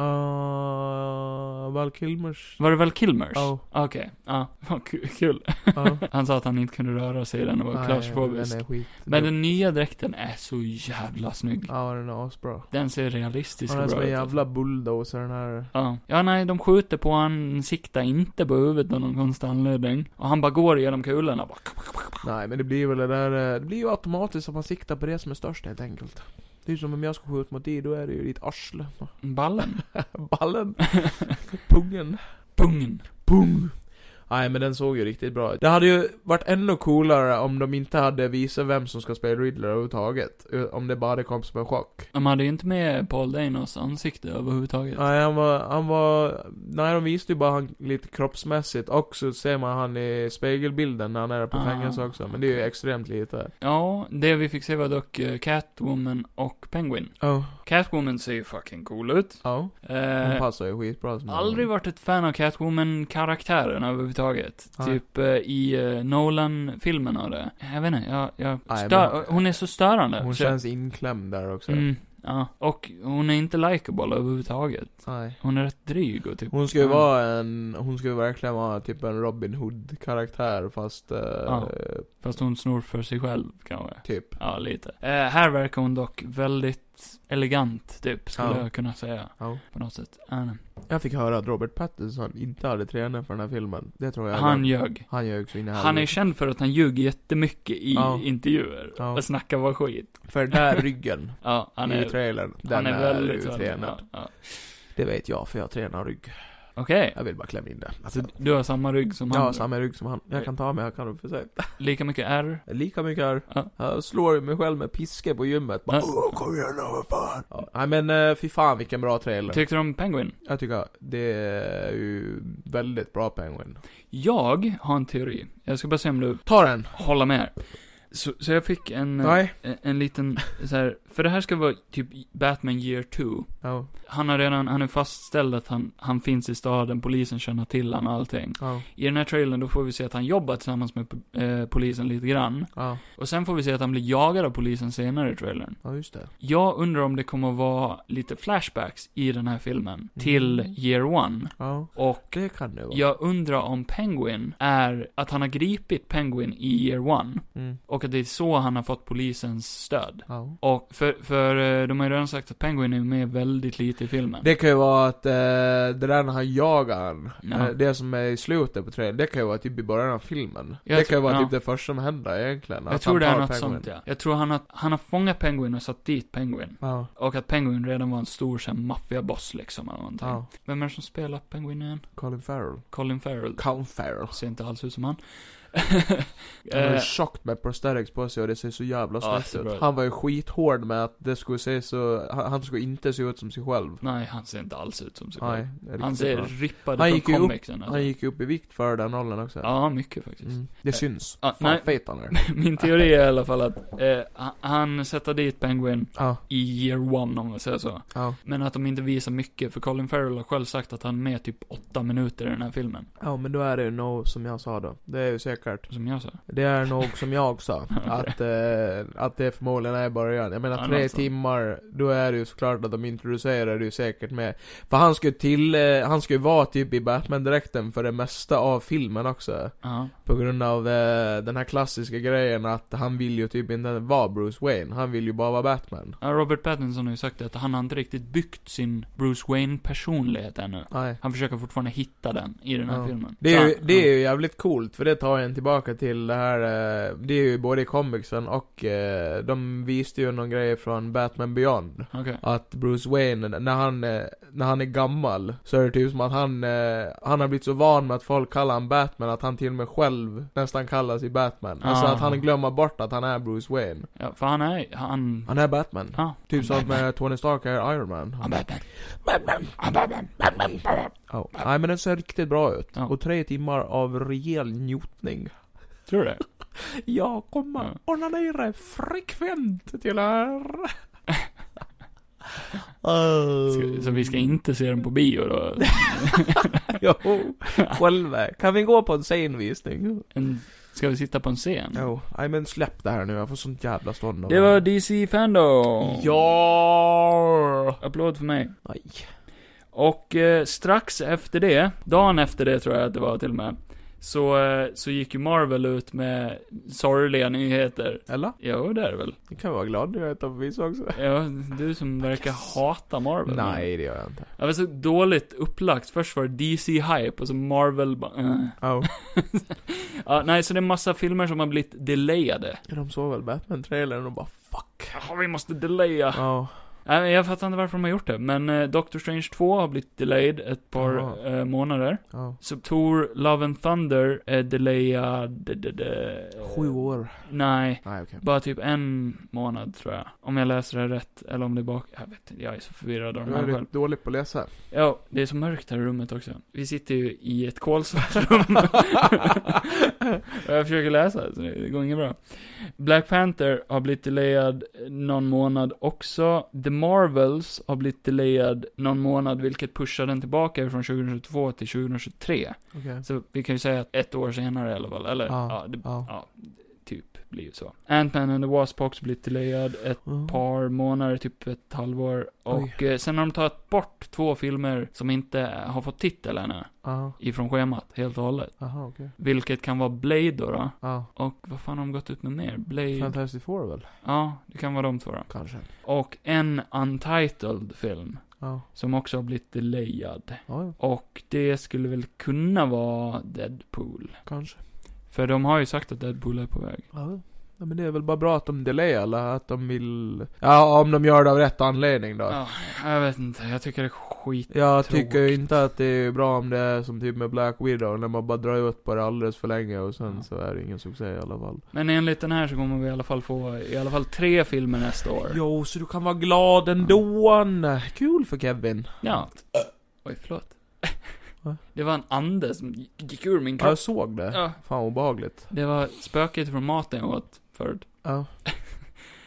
Ah, Val Kilmers. Var det väl Kilmers? Ja. Okej, ja, *laughs* vad ku- kul. *laughs* Ja. Han sa att han inte kunde röra sig i den och var Nej, klaustrofobisk. Den är skit. Men den nya dräkten är så jävla snygg. Ja, den är asbra. Den ser realistisk Han och är som bra en ut. alltså. jävla bulldozer den här. Ja. ja, nej, de skjuter på han, siktar inte på huvudet av någon konstig anledning. Och han bara går genom kulorna bara. Nej, men det blir väl det där, eh, det blir ju automatiskt att man siktar på det som är störst helt enkelt. Det är ju som om jag ska skjuta mot dig, då är det ju ditt arsle. *laughs* Ballen. *laughs* Ballen. Pungen. Pungen. Pung. Nej, men den såg ju riktigt bra ut. Det hade ju varit ännu coolare om de inte hade visat vem som ska spela Riddler överhuvudtaget. Ö, Om det bara kom som en chock. De hade ju inte med Paul Danos ansikte överhuvudtaget. Nej, han var, han var, nej de visste ju bara han lite kroppsmässigt och så ser man han i spegelbilden när han är på Ah, fängelse också. Men det är ju extremt lite. Ja, det vi fick se var dock eh, Catwoman och Penguin. Ja. Catwoman ser ju fucking cool ut. Ja, hon Eh, passar ju skitbra som aldrig varit ett fan av Catwoman-karaktären överhuvudtaget. Nej. Typ eh, i eh, Nolan-filmen av det. Jag vet inte, jag, jag Nej, stör, men- hon är så störande. Hon så känns inklämd där också. Mm, ja. Och hon är inte likeable överhuvudtaget. Nej. Hon är rätt dryg och typ... Hon ska ju Mm. vara en, hon ska ju verkligen vara typ en Robin Hood-karaktär fast, eh, Ja. Fast hon snor för sig själv, kanske. typ. Ja, lite. Eh, här verkar hon dock väldigt elegant, typ, skulle Ja. jag kunna säga. Ja. På något sätt. Han, Jag fick höra att Robert Pattinson inte hade tränat för den här filmen. Det tror jag. han ljög. han gör också in i Han är helvete. känd för att han ljuger jättemycket i Ja. intervjuer. Ja. Och snackar bara skit. För den här ryggen. Ja, *laughs* han I är, trailern. Den han är väldigt uttränad. Ja, ja. Det vet jag, för jag tränar rygg. Okej. Jag vill bara klämma in det. Alltså, Du har samma rygg som jag har han. samma rygg som han. Jag kan ta mig, jag kan upp för sig. Lika mycket R. Lika mycket här. Ja. Jag slår ju mig själv med piske på gymmet. Bara, Ja. Åh, kom igen nu, vad fan. Ja. Nej men eh, fy fan vilken bra trailer. Tyckte du om Penguin? jag tycker det är ju väldigt bra Penguin. Jag har en teori. Jag ska bara se om du Ta den! håller med. Så, så jag fick en, eh, Nej. en, en liten, så här, för det här ska vara typ Batman year 2. Ja, Han har redan, han är fastställd att han, han finns i staden, polisen känner till han och allting. ja, I den här trailern då får vi se att han jobbar tillsammans med po- eh, polisen lite grann. ja. Och sen får vi se att han blir jagad av polisen senare i trailern. Ja, just det. Jag undrar om det kommer att vara lite flashbacks i den här filmen Mm. till year one. Ja. Och Det kan det vara. jag undrar om Penguin är att han har gripit Penguin i year one. Mm. Och att det är så han har fått polisens stöd. Ja. Och för, för eh, de har ju redan sagt att Penguin är med väldigt lite i filmen. Det kan ju vara att eh, det där när han jagar han, Ja. eh, det som är i slutet på trailern, det kan ju vara typ i början av filmen. Jag det kan ju tror- vara ja. typ det första som händer egentligen. jag att tror han det är tar något Penguin. sånt ja. Jag tror han har, han har fångat Penguin och satt dit Penguin. Ja. Och att Penguin redan var en stor sån maffiaboss liksom eller någonting. ja. Vem är det som spelar Penguin igen? Colin Farrell. Colin Farrell. Colin Farrell. *laughs* Ser inte alls ut som han. Han har ju Eh, tjockt med prosthetics på sig och det ser så jävla Ja, snyggt det är bra. ut. Han var ju skithård med att det skulle se så, han han skulle inte se ut som sig själv. nej, han ser inte alls ut som sig Nej, själv. det är Han riktigt ser bra. rippad Han ut gick från ju upp- comicsen. Alltså. Han gick ju upp i vikt för den rollen också. Ja, mycket faktiskt. Mm. Det syns. Ah, Fan nej. *laughs* fet han är. Min teori är i alla fall att eh, han- han sätter dit Penguin Ja, i year one, om man säger så. ja. Men att de inte visar mycket, för Colin Farrell har själv sagt att han är med typ åtta minuter i den här filmen. Ja, men då är det ju nog som jag sa då. Det är ju säkert. Som jag sa. Det är nog som jag sa. att, eh, att det förmodligen är början. Jag menar Ja, tre något sånt. timmar, då är det ju såklart att de introducerar det ju säkert med. För han ska ju till, eh, han ska ju vara typ i Batman-dräkten för det mesta av filmen också. Ja. På grund av eh, den här klassiska grejen att han vill ju typ inte vara Bruce Wayne. Han vill ju bara vara Batman. Ja, Robert Pattinson har ju sagt att han har inte riktigt byggt sin Bruce Wayne-personlighet ännu. Nej. Han försöker fortfarande hitta den i den här Ja. filmen. Det är, ju, Så han- det är ju jävligt coolt, för det tar en tillbaka till det här, eh, det är ju både i comicsen och eh, de visste ju någon grej från Batman Beyond. ja, Okej. Att Bruce Wayne, när han, eh, när han är gammal, så är det typ som att han, eh, han har blivit så van med att folk kallar han Batman att han till och med själv nästan kallar sig Batman. Alltså Ah. att han glömmer bort att han är Bruce Wayne. Ja, för han är, han... Han är Batman. Ja. Typ han som med Tony Stark är Iron Man. Han Batman. Ja. Oh. Nej men den ser riktigt bra ut. Ja. Och tre timmar av rejäl njutning. Tror du det? Jag kommer onanera frekvent till *laughs* er. Uh. Ska, så vi ska inte se den på bio då? *laughs* Jo, själva. Kan vi gå på en scenvisning? En, ska vi sitta på en scen? Jo, nej men släpp det här nu, jag får sånt jävla stånd av Det var DC Fandom! Ja! Applåd för mig. Nej. Och eh, strax efter det, dagen efter det tror jag att det var till och med, så, eh, så gick ju Marvel ut med sorgliga nyheter. Eller? Jo, det är det väl? Du kan vara glad när jag äter på vis också. Ja, du som verkar hata Marvel. Nej, det gör jag inte. Det var så dåligt upplagt. Först var det DC-hype och så Marvel bara, eh. Oh. ja, Nej, så det är massa filmer som har blivit delayade. *laughs* De såg väl Batman-trailern och bara fuck. Jaha, vi måste delaya. Ja. Nej, men jag fattar inte varför de har gjort det, men eh, Doctor Strange 2 har blivit delayed ett par Jaha. eh, månader. ja. Så Thor Love and Thunder är delayad... De, de, de, Sju år. Nej. Nej, okej. Bara typ en månad tror jag. Om jag läser det rätt, eller om det är bak... Jag vet inte, jag är så förvirrad av Du den här är själv. lite dålig på att läsa. Ja, det är så mörkt här i rummet också. Vi sitter ju i ett *laughs* kolsvart rum. *laughs* Och jag försöker läsa, så det går inget bra. Black Panther har blivit delayad någon månad också. The Marvels har blivit delayad någon månad, vilket pushar den tillbaka från 2022 till 2023. Okej. Så vi kan ju säga att ett år senare i alla fall, eller Ja, ja, det, ja. ja, typ blir ju så. Ant-Man and the Wasp har också blivit delayad ett Mm. par månader, typ ett halvår. Och eh, sen har de tagit bort två filmer som inte har fått titel ännu, Ja. ifrån schemat, helt och hållet. Jaha, okej. Vilket kan vara Blade då, då. Ja. Och vad fan har de gått ut med Mm. mer? Blade? Fantastic Four väl? Ja, det kan vara de två då. Kanske. Och en Untitled film, Ja. som också har blivit delayad. Ja, ja. Och det skulle väl kunna vara Deadpool. kanske. För de har ju sagt att Deadpool är på väg. Ja. ja. Men det är väl bara bra att de delayar, eller att de vill... Ja, om de gör det av rätt anledning då. Ja, jag vet inte. Jag tycker det är skit. Jag tycker ju Tråkigt. inte att det är bra om det är som typ med Black Widow, när man bara drar ut på det alldeles för länge och sen Ja. så är det ingen succé i alla fall. Men enligt den här så kommer vi i alla fall få i alla fall tre filmer nästa år. Jo, så du kan vara glad ändå. Kul för Kevin. Ja. Oj, förlåt. Va? *laughs* Det var en ande som gick ur min Ja, jag kropp. såg det. Ja. Fan obehagligt. Det var spöket från maten jag åt förut. Ja.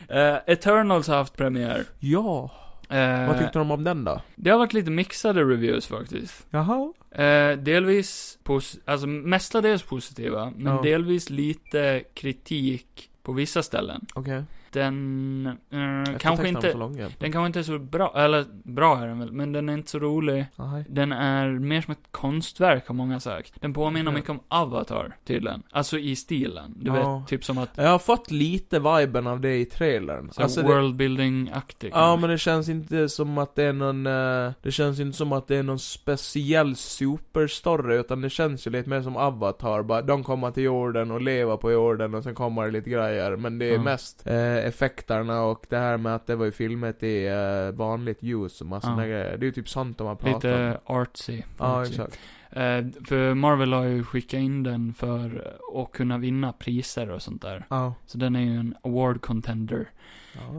Eh, Eternals har haft premiär. Ja. Eh, Vad tyckte de om den då? Det har varit lite mixade reviews faktiskt. Jaha. Eh, delvis, pos- alltså mestadels positiva, men Ja. delvis lite kritik på vissa ställen. Okej. Den, eh, Jag kanske textade dem så inte, långa. den kanske inte är så bra, eller bra är den väl, men den är inte så rolig. Nej. Den är mer som ett konstverk har många sagt. Den påminner Ja. mycket om Avatar, tydligen. Alltså i stilen. Du Ja. vet, typ som att, Jag har fått lite viben av det i trailern. så Alltså, det- worldbuilding-aktig. Ja men det känns inte som att det är någon, eh, det känns inte som att det är någon speciell superstory utan det känns ju lite mer som Avatar, bara de kommer till jorden och lever på jorden och sen kommer det lite grejer. Men det är Ja. mest eh, effekterna och det här med att det var ju filmet i eh, vanligt ljus och massa Ja. såna grejer. Det är ju typ sånt de har pratat om. Lite artsy. Ja artsy. exakt. Eh, Eh, för Marvel har ju skickat in den för att kunna vinna priser och sånt där. Ja. Så den är ju en award contender.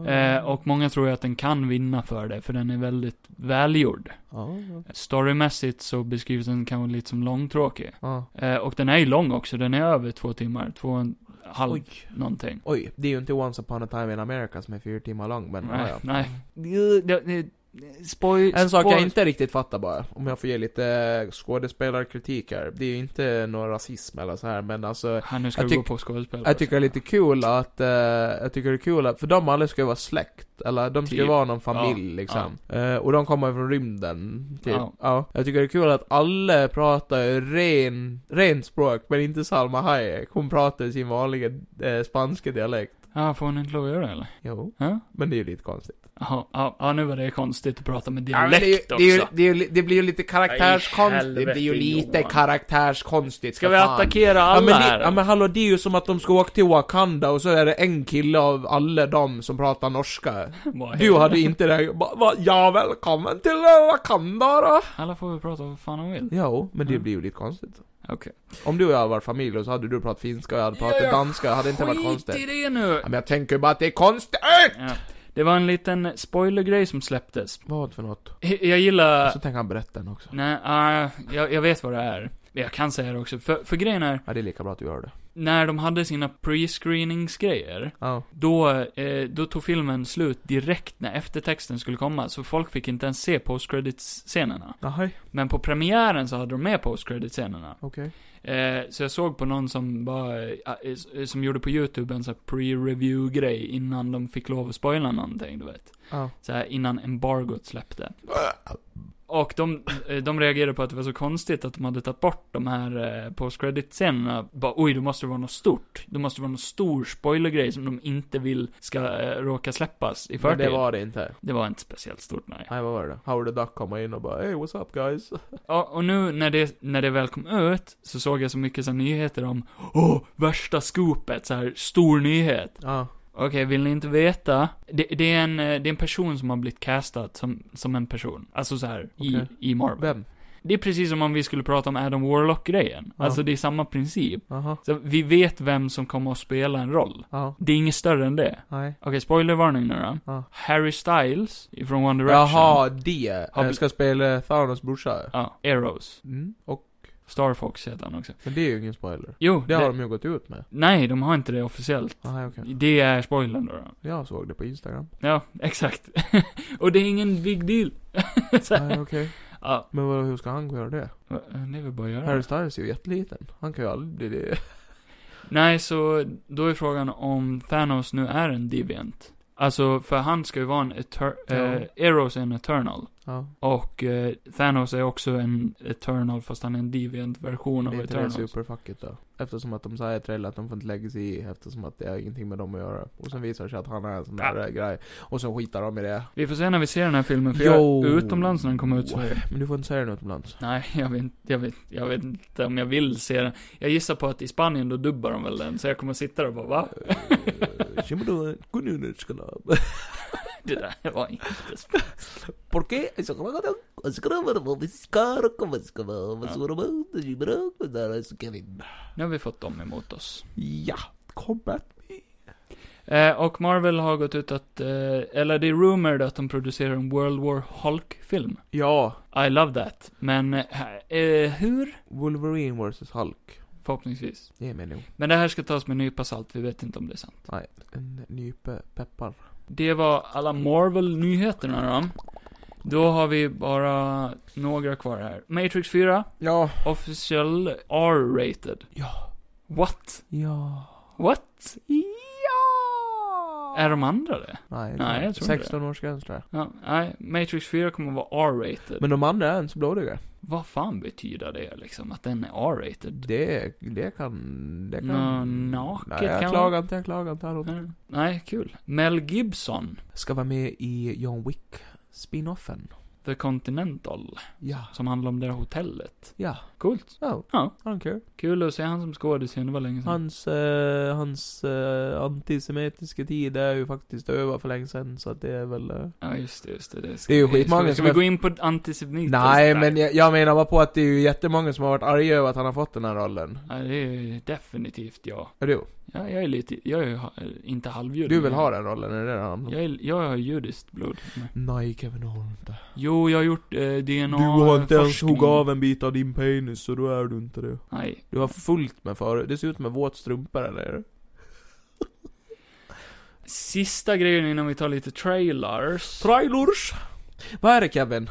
Eh, och många tror ju att den kan vinna för det, för den är väldigt välgjord. Ja. Storymässigt så beskrivs den kanske lite som långtråkig. Ja. Eh, och den är ju lång också, den är över två timmar, två och en halv Oj. någonting. Oj, det är ju inte Once upon a time in America som är fyra timmar lång, men nej, ja, ja. nej. Det- det- det- Spoil, En sak jag spoil- inte riktigt fattar bara, om jag får ge lite eh, skådespelarkritik här. Det är ju inte någon rasism eller så här, men alltså... Ja, nu ska jag vi gå tyck- på skådespel. Jag tycker det är lite kul att, eh, jag tycker det är kul att, för de alla ska ju vara släkt, eller de ska ju Typ. vara någon familj Ja, liksom. Eh, och de kommer från rymden, typ. Ja. Ja. Jag tycker det är kul att alla pratar ju ren, rent språk, men inte Salma Hayek. Hon pratar ju sin vanliga eh, spanska dialekt. Ja, får hon inte lov att göra det eller? Jo. Ja? Men det är ju lite konstigt. Jaha, Ja, ja, nu var det konstigt att prata med Ja, men det, är ju, dialekt det, är ju, också. det, är ju, li- det blir ju lite Nej, karaktärskonstigt. Det helvete, blir ju lite Johan. karaktärskonstigt. Ska för vi fan. attackera Ja alla men, det, här? ja men hallå, det är ju som att de ska åka till Wakanda och så är det en kille av alla dem som pratar norska. Vad Du heter hade det? inte det. Va, va, ja, välkommen till eh, Wakanda då! Alla får väl prata vad fan de vill. Jo, men det Mm. blir ju lite konstigt. Okej. Om du och jag var familj och så hade du pratat finska och jag hade pratat Ja, ja, danska, hade det inte varit Skit i konstigt. det nu! Ja, men jag tänker ju bara att det är konstigt! Äh! Ja. Det var en liten spoilergrej som släpptes. Vad för något? Jag jag gillar... Så tänker han berätta den också. Nej, ah, jag, jag vet vad det är. Men Jag kan säga det också. För, för grejen är, Ja, det är lika bra att du gör det. när de hade sina pre-screeningsgrejer, Ja. då, eh, då tog filmen slut direkt när eftertexten skulle komma, så folk fick inte ens se post-credits-scenerna. Jaha, Men på premiären så hade de med post-credits-scenerna. okej. Eh, så jag såg på någon som bara, eh, eh, som gjorde på YouTube en sån här pre-review-grej innan de fick lov att spoila någonting, du vet. Ja. Så här innan embargot släppte. Alltså, Och de, eh, de reagerade på att det var så konstigt att de hade tagit bort de här eh, post-credit-scenerna. Bara, oj, då måste det vara något stort. Då måste det vara någon stor spoilergrej som de inte vill ska eh, råka släppas i Men förtid. det var det inte. det var inte speciellt stort, nej. Nej, vad var det? Howard the Duck kommer in och bara Hey, what's up guys? Ja, och nu när det, när det väl kom ut, så såg jag så mycket så här nyheter om Åh, värsta scoopet, så här stor nyhet. Ja. Okej, vill ni inte veta? Det, det, är en, eh, det är en person som har blivit castad som, som en person. Alltså så här Okej. i, i Marvel. Vem? Det är precis som om vi skulle prata om Adam Warlock-grejen. Ja. Alltså det är samma princip. Jaha. Så vi vet vem som kommer att spela en roll. Ja. Det är inget större än det. Nej. Okej, spoilervarning nu då. Ja. Harry Styles ifrån One Direction. Jaha, det. Har Eh, bl- ska spela Thanos brorsa. Ja, Arrows. Mm. Och, Star Fox heter han också. men det är ju ingen spoiler. Jo, Det har de ju gått ut med. Ah, Nej, de har inte det officiellt. Nej, okej. Det är spoilern då. då. Jag såg det på *laughs* Instagram. Ja, *laughs* exakt. och det är ingen big deal. Så här. Nej, okej. ja, Men vad, hur ska han göra det? det är väl bara att göra. Harry Styles är ju jätteliten. Han kan ju aldrig det. Nej, så då är frågan om Thanos nu är en deviant. Alltså, för han ska ju vara en eter- Ja. eh, Eros är en eternal. Ja. Och eh, Thanos är också en eternal, fast han är en deviant version Det av är inte det Eternals. superfacket då. Eftersom att de säger till att de får inte lägga sig i eftersom att det har ingenting med dem att göra. Och sen visar det sig att han är en sån där Ja. eh, grej. Och så skitar de i det. Vi får se när vi ser den här filmen, för Jo. jag, utomlands när den kommer ut så är Men du får inte säga det utomlands. Nej, jag vet, inte- jag, vet, jag vet inte om jag vill se den. Jag gissar på att i Spanien, då dubbar de väl den, så jag kommer sitta där och bara va? Eh, Shimadon, Kununutskanab. Det där var inte... ¿Por qué? Eso que me acuerdo, eso que no me acuerdo, es caro, como es que no, Ah. me suena mal, de Gibran, pues ahora es Kevin. Nu har vi fått dem emot oss. Ja, combat. Eh, och Marvel har gått ut att, eh, eller det är rumored att de producerar en World War Hulk-film. Ja, I love that. Men, eh, eh, hur? Wolverine vs Hulk. Förhoppningsvis. Det är meningen. Men det här ska tas med en nypa salt, vi vet inte om det är sant. Nej, en nype peppar. Det var alla Marvel-nyheterna då. Då har vi bara några kvar här. Matrix 4, Ja. official R-rated. Ja. What? Ja. What? Ja! Är de andra det? Nej, det Nej, är jag tror inte 16 års gräns där. Ja, nej, Matrix 4 kommer att vara R-rated. Men de andra är inte så blodiga. Vad fan betyder det liksom, att den är R-rated? Det, det kan... Det kan... Nå, naket Nej, jag kan- klagar inte, jag klagar inte. Hallå. Mm. Nej, kul. Mel Gibson. Ska vara med i John Wick spin-offen. The Continental. Ja. Som handlar om det där hotellet. Ja. Mm. Coolt. Oh, Ja. I don't care. Kul att se han som skådis igen, det var länge sedan. Hans, eh, hans eh, antisemitiska tid är ju faktiskt över för länge sedan, så att det är väl... Eh... Ja, just det, just det. Det, ska Det är ju vi- skitmånga ska vi- Ska som vi är- gå in på antisemitiskt? Nej, där? men jag, jag menar bara på att det är ju jättemånga som har varit arga över att han har fått den här rollen. Ja, det är ju definitivt jag. Är du? Ja, jag är lite, jag är ju ha- inte halvjude. Du vill men- ha den rollen, är det det han... Jag, är, jag har judiskt blod. Nej, Kevin, du har inte. Jo, jag har gjort eh, DNA Du har inte ens forskning. hugg av en bit av din penis, så då är du inte det. Nej. Du har fullt med för Det ser ut som en våt strumpa där nere. Sista grejen innan vi tar lite trailers. Trailers! Vad är det Kevin?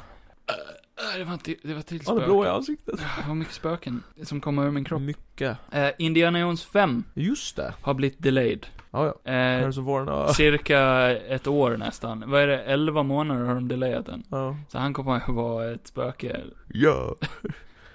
Äh, det var inte, det var till Han är spöken. blå i ansiktet. det var mycket spöken som kom över min kropp. Mycket. Eh, Indiana Jones 5 Just det. har blivit delayed. Ja, ja. Eh, Harrison Ford, ja. cirka ett år nästan. Vad är det, 11 månader har de delayat den. Ja. Så han kommer att vara ett spöke. Ja.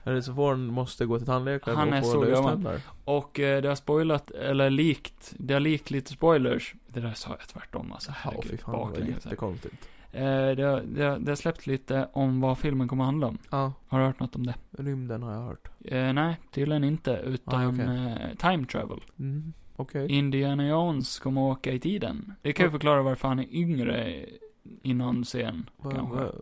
Harrison Ford måste gå till tandläkaren Han är och så få gammal. löständer. Och eh, det har spoilat, eller likt, det har likt lite spoilers. Det där sa jag tvärtom alltså. Ja, fy Herregud, fan. Det var baklänges här. jättekonstigt. Eh, det, har, det, har, det har släppt lite om vad filmen kommer att handla om. Ja. Har du hört något om det? Rymden har jag hört. Eh, nej, tydligen inte. Utan Ah, okej. eh, time travel. Mm. Okej. Indiana Jones kommer att åka i tiden. Det kan ju Ja. förklara varför han är yngre i någon scen, Va- kanske. va-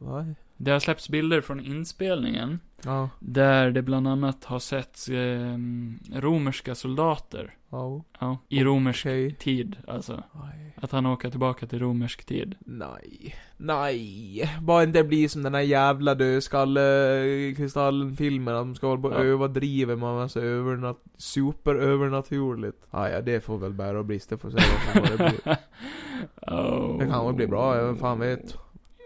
va- Det har släppts bilder från inspelningen. Ja. Där det bland annat har setts ehm, romerska soldater. Ja. Ja, i romersk Okej. tid, alltså. Nej. Att han åker tillbaka till romersk tid. Nej. Nej. Bara inte bli som den här jävla dödskalle-kristallen-filmen. Att de ska hålla på och Ja. överdriva med en massa övernat- superövernaturligt. Ah, ja, det får väl bära och brista för att säga vad det blir. *laughs* oh. Det kan väl bli bra, jag fan vet.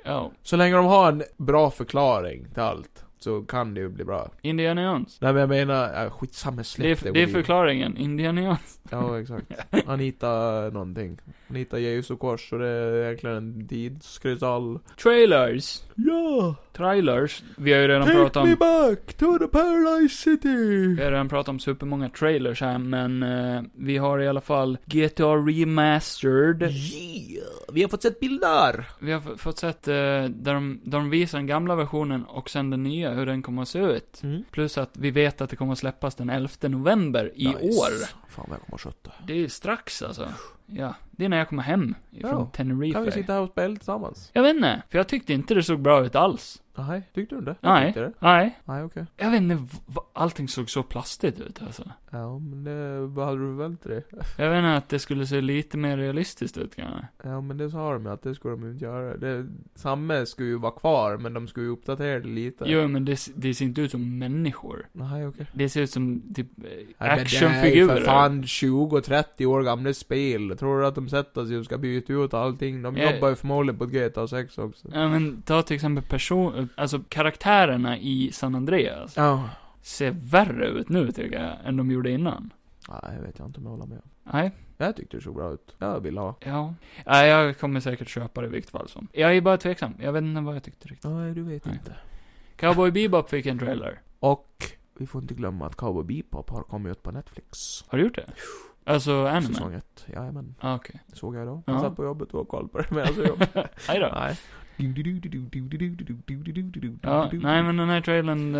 Ja. Så länge de har en bra förklaring till allt, så kan det ju bli bra. Indiana Jones. Nej men jag menar, äh, skitsamma Det släpp är, det är Woody. förklaringen. Indiana Jones. Ja, exakt. Anita någonting. Anita Jesus och kors, och det är egentligen en tidskristall. Trailers. Ja! Trailers. Vi har ju redan pratat Take me om... back to the paradise city! Vi har redan pratat om supermånga trailers här, men eh, vi har i alla fall GTA Remastered. Yeah. Vi har fått sett bilder! Vi har f- fått sett eh, där, de, där de visar den gamla versionen och sen den nya, hur den kommer att se ut. Mm. Plus att vi vet att det kommer att släppas den 11 november i Nice. år. Fan vad jag kommer att kötta. Det är strax alltså. Ja, det är när jag kommer hem ifrån Ja, Tenerife. Kan vi sitta här och spela tillsammans? Jag vet inte, för jag tyckte inte det såg bra ut alls. Nej, tyckte du inte? Nej. Jag tyckte det. Nej, Nej, okej. jag vet inte, v- v- allting såg så plastigt ut alltså. Ja, men det, vad hade du förväntat dig? Jag vet inte att det skulle se lite mer realistiskt ut kanske. Ja men det sa de ju att det skulle de ju inte göra. Det, samma skulle ju vara kvar men de skulle ju uppdatera det lite. Jo, men det, s- det ser inte ut som människor. Nej okej. Det ser ut som typ eh, Nej, men Det är ju för actionfigurer. fan 20-30 år gamla spel. Tror du att de sätter sig och ska byta ut allting? De Ja. jobbar ju förmodligen på GTA 6 också. Ja men ta till exempel person, alltså karaktärerna i San Andreas Ja. ser värre ut nu tycker jag, än de gjorde innan. Nej, jag vet jag inte om jag håller med om. Nej, Jag tyckte det såg bra ut. Jag vill ha. ja. Nej, jag kommer säkert köpa det i vilket fall som. Jag är bara tveksam, jag vet inte vad jag tyckte riktigt. Nej, du vet Nej. inte. Cowboy Bebop fick en trailer. Och vi får inte glömma att Cowboy Bebop har kommit ut på Netflix. Har du gjort det? Alltså, anime? Säsong 1. Jajamän. Ah, okej. Det såg jag idag. Jag Ja. satt på jobbet och kollade på det medan jag *laughs* jobbade. Aj då. Nej. Ja, nej men den här trailern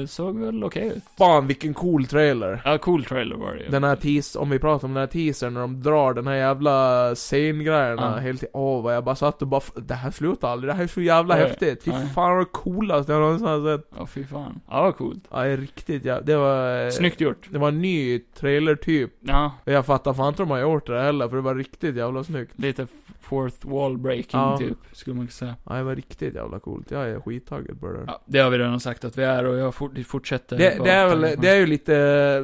eh, såg väl okej ut. Fan vilken cool trailer. Ja, cool trailer var det ju. Den här teas om vi pratar om den här teasern när de drar den här jävla scengrejerna Ja. helt Åh vad jag bara satt och bara "F- Det här slutar aldrig, det här är så jävla Nej. häftigt. Fy Nej. fan vad coolast jag någonsin har sett. Ja, fy fan. Ja, vad coolt. Ja, det är riktigt ja. Det var... eh, Snyggt gjort. Det var en ny trailer-typ. Ja, Jag fattar fan inte om de har gjort det heller för det var riktigt jävla snyggt. lite fourth wall breaking Ja. typ, skulle man kunna säga. Ja, det var riktigt jävla coolt. Jag är skittaggad på det där. Ja, det har vi redan sagt att vi är och jag fort, fortsätter. Det, bara det, är väl, tanken. det är ju lite,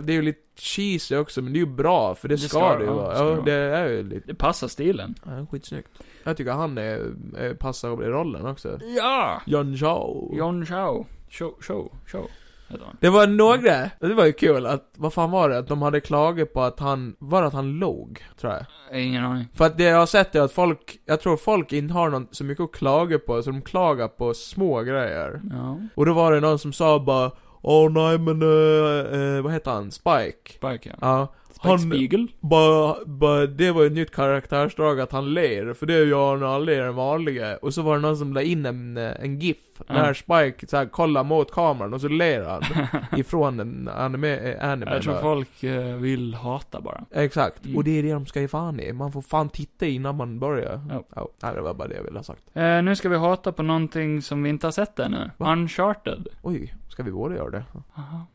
det är ju lite cheesy också, men det är ju bra, för det, ska, det ju ja, vara. ska det Ja, vara. det är ju lite... Det passar stilen. Ja, skitsnyggt. Jag tycker han är, är, passar i rollen också. Ja! John Chow. John Chow. Show, show, show. Heter han. Det var några, det var ju kul att, vad fan var det? Att de hade klagat på att han, var det att han låg? Tror jag. Jag har Ingen aning. För att det jag har sett är att folk, jag tror folk inte har någon, så mycket att klaga på, så de klagar på små grejer. Ja. Och då var det någon som sa bara Åh nej men, eh, eh, vad heter han? Spike? Spike ja. Ja. Spike han- Spiegel. Bara, bara, det var ju ett nytt karaktärsdrag att han ler, för det gör han när han ler än vanliga. Och så var det någon som la in en, eh, en GIF, Mm. när Spike så här, kollar mot kameran och så ler *laughs* han. ifrån en anime, eh, anime Jag tror då. folk eh, vill hata bara. Exakt, Mm. och det är det de ska ge fan i. Man får fan titta innan man börjar. Ja. Ja, nej, det var bara det jag ville ha sagt. Eh, nu ska vi hata på någonting som vi inte har sett ännu. Va? Uncharted. Oj, ska vi båda göra det? Aha.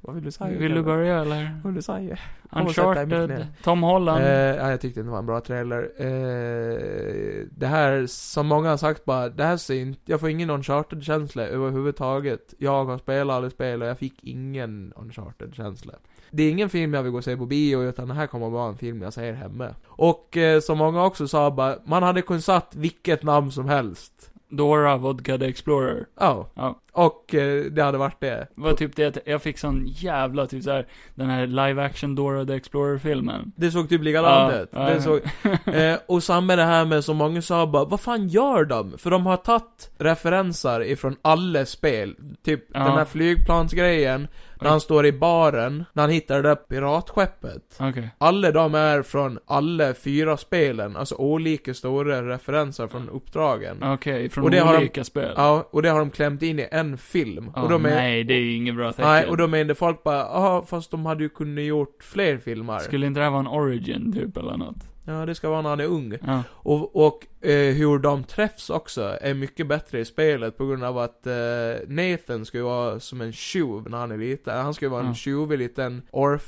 Vad vill du säga? Vill du Kalle? börja eller? Vad vill du säga? Kom och sätt dig i mitt Uncharted, knä. Tom Holland. Eh, ja, jag tyckte det var en bra trailer. Eh, det här, som många har sagt bara, det här ser inte, jag får ingen Uncharted-känsla överhuvudtaget. Jag har spelat alla spel och jag fick ingen Uncharted-känsla. Det är ingen film jag vill gå och se på bio, utan det här kommer vara en film jag ser hemma. Och eh, som många också sa bara, man hade kunnat satt vilket namn som helst. Dora Vodka the Explorer. Ja. Ja. Och eh, det hade varit det. Var typ det att jag fick sån jävla typ såhär, den här live action Dora the Explorer-filmen. Det såg typ likadant Ja, ut. ja. Det såg, *laughs* eh, och samma det här med som många sa bara, vad fan gör de? För de har tagit referenser ifrån alla spel. Typ Ja. den här flygplansgrejen, när han står i baren, när han hittar det där piratskeppet. Okej. Alla de är från alla fyra spelen, alltså olika stora referenser från uppdragen. Ja. Okej, från Och det har de- olika spel. och det har de klämt in i en film. Ja, och de är, Nej, det är ju inget bra tecken. nej, och då menar folk bara, ja fast de hade ju kunnat gjort fler filmer. Skulle inte det här vara en origin typ eller något? Ja, det ska vara när han är ung. Ja. Och, och eh, hur de träffs också är mycket bättre i spelet på grund av att eh, Nathan ska ju vara som en tjuv när han är liten. Han ska ju vara Ja. en tjuvig liten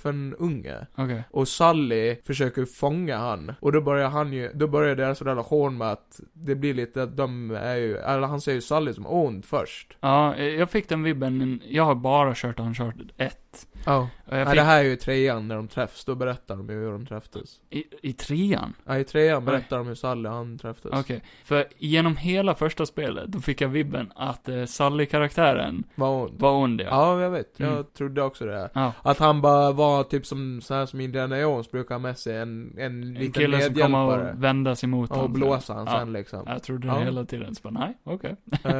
orphan-unge. Okej. Och Sally försöker fånga han. Och då börjar han ju, då börjar deras relation med att det blir lite att de är ju, eller han ser ju Sally som ond först. Ja, eh, jag fick den vibben, men jag har bara kört Uncharted 1. Ja. Och jag Ja, fick det här är ju i trean när de träffs, då berättar de ju hur de träffades. i, i trean. Ja, i trean berättar de hur Sally och han träffades. Okej. För genom hela första spelet, då fick jag vibben att eh, Sally-karaktären Var ond. var ond ja. Ja, jag vet. Jag Mm. trodde också det. Ja. Att han bara var typ som, så här som Indiana Jones brukar ha med sig, en, en En liten kille som kommer medhjälpare. att vända sig mot Och, honom. blåsa han Ja. sen liksom. Jag trodde Ja. det hela tiden, så bara, nej, okej. Eh,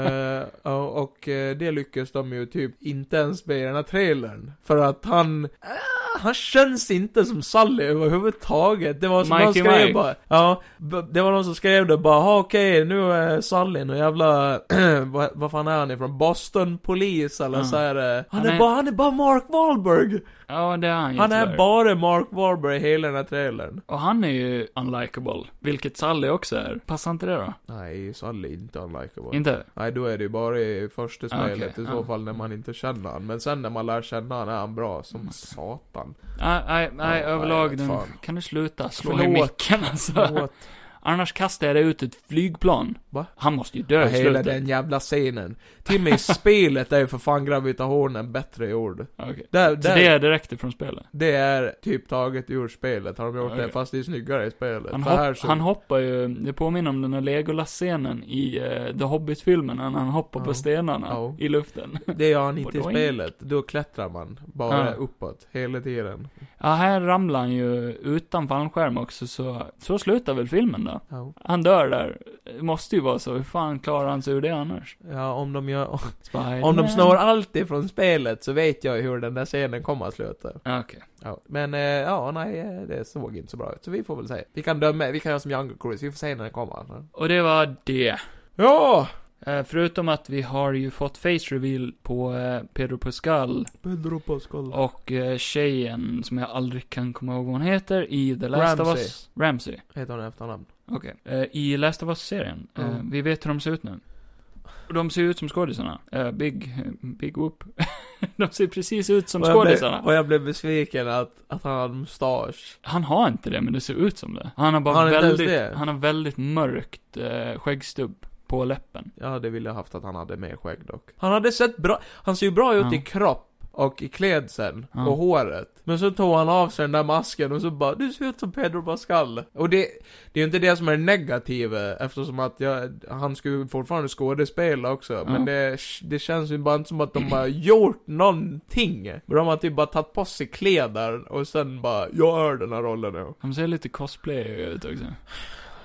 ja, och eh, det lyckas de ju typ inte ens med i den här trailern. För att han, ah, han känns inte som Sally överhuvudtaget. Det var som Mikey någon skrev Mike. bara, ja, b- det var någon som skrev det bara, "Ha, okej, nu är Sally och jävla, *clears throat* vad, vad fan är han ifrån? Boston Polis eller Ja. så här. eh, Han, Han är, är- bara, han är bara Mark Wahlberg! Ja, det är han ju Han är Mm, tyvärr. bara Mark Wahlberg i hela den här trailern. Och han är ju unlikable, vilket Sally också är. Passar inte det då? Nej, Sally är inte unlikable. Inte? Nej, då är det ju bara i första Ah, okej, spelet i så ja. fall när man inte känner han. Men sen när man lär känna han är han bra som *laughs* satan. Nej, nej, nej, Ja, nej, överlag vet den... fan. Kan du sluta slå i Förlåt. micken alltså? *laughs* Åt Annars kastar jag dig ut ett flygplan. Va? Han måste ju dö i hela slutet. den jävla scenen. Till och med i spelet är ju för fan gravitationen bättre i ord. Okej. Där, Så där, det det... är direkt ifrån spelet? är typ taget ur spelet, har de gjort Okej. det. Fast det är snyggare i spelet. Han, För här hopp, så- han hoppar ju, det påminner om den här Legolas-scenen i eh, The Hobbit-filmen, när han hoppar Ja. på stenarna Ja. i luften. *laughs* Det gör han inte i Bodoink. spelet. Då klättrar man. Bara Ja. uppåt, hela tiden. Ja, här ramlar han ju utan fallskärm också, så, så slutar väl filmen då? Ja. Han dör där. Det måste ju vara så, hur fan klarar han sig ur det annars? Ja, om de gör... Spider-Man. Om de snor allt ifrån spelet så vet jag hur den där scenen kommer att sluta. Ja, Okej. Ja. Men eh, ja, nej, eh, det såg inte så bra ut. Så vi får väl se. Vi kan döma, vi kan göra som Jungle Cruise, vi får se när den kommer. Och det var det. Ja! Eh, förutom att vi har ju fått face reveal på eh, Pedro Pascal Pedro Pascal. och eh, tjejen som jag aldrig kan komma ihåg vad hon heter i The Last of Ramsey. Us. Ramsey. Heter hon i efternamn? Okej. Eh, I Last of Us-serien, eh, Mm. vi vet hur de ser ut nu. Och De ser ut som skådisarna. Eh, big, eh, big whoop. *laughs* de ser precis ut som Och jag blev- skådisarna. Och jag blev besviken att, att han hade mustasch. Han har inte det, men det ser ut som det. Han har bara Har han inte ens väldigt, det? han har väldigt mörkt eh, skäggstubb på läppen. Ja, det ville jag haft att han hade mer skägg dock. Han hade sett bra, han ser ju bra ut Ja. i kropp. Och i klädseln. Ja. Och håret. Men så tog han av sig den där masken och så bara Du ser ut som Pedro Pascal. Och det, det är ju inte det som är det negativa. Eftersom att jag, han skulle fortfarande skådespela också. Men det, det känns ju bara inte som att de har gjort någonting. De har typ bara tagit på sig kläder och sen bara Jag gör den här rollen nu. De ser lite cosplay ut också.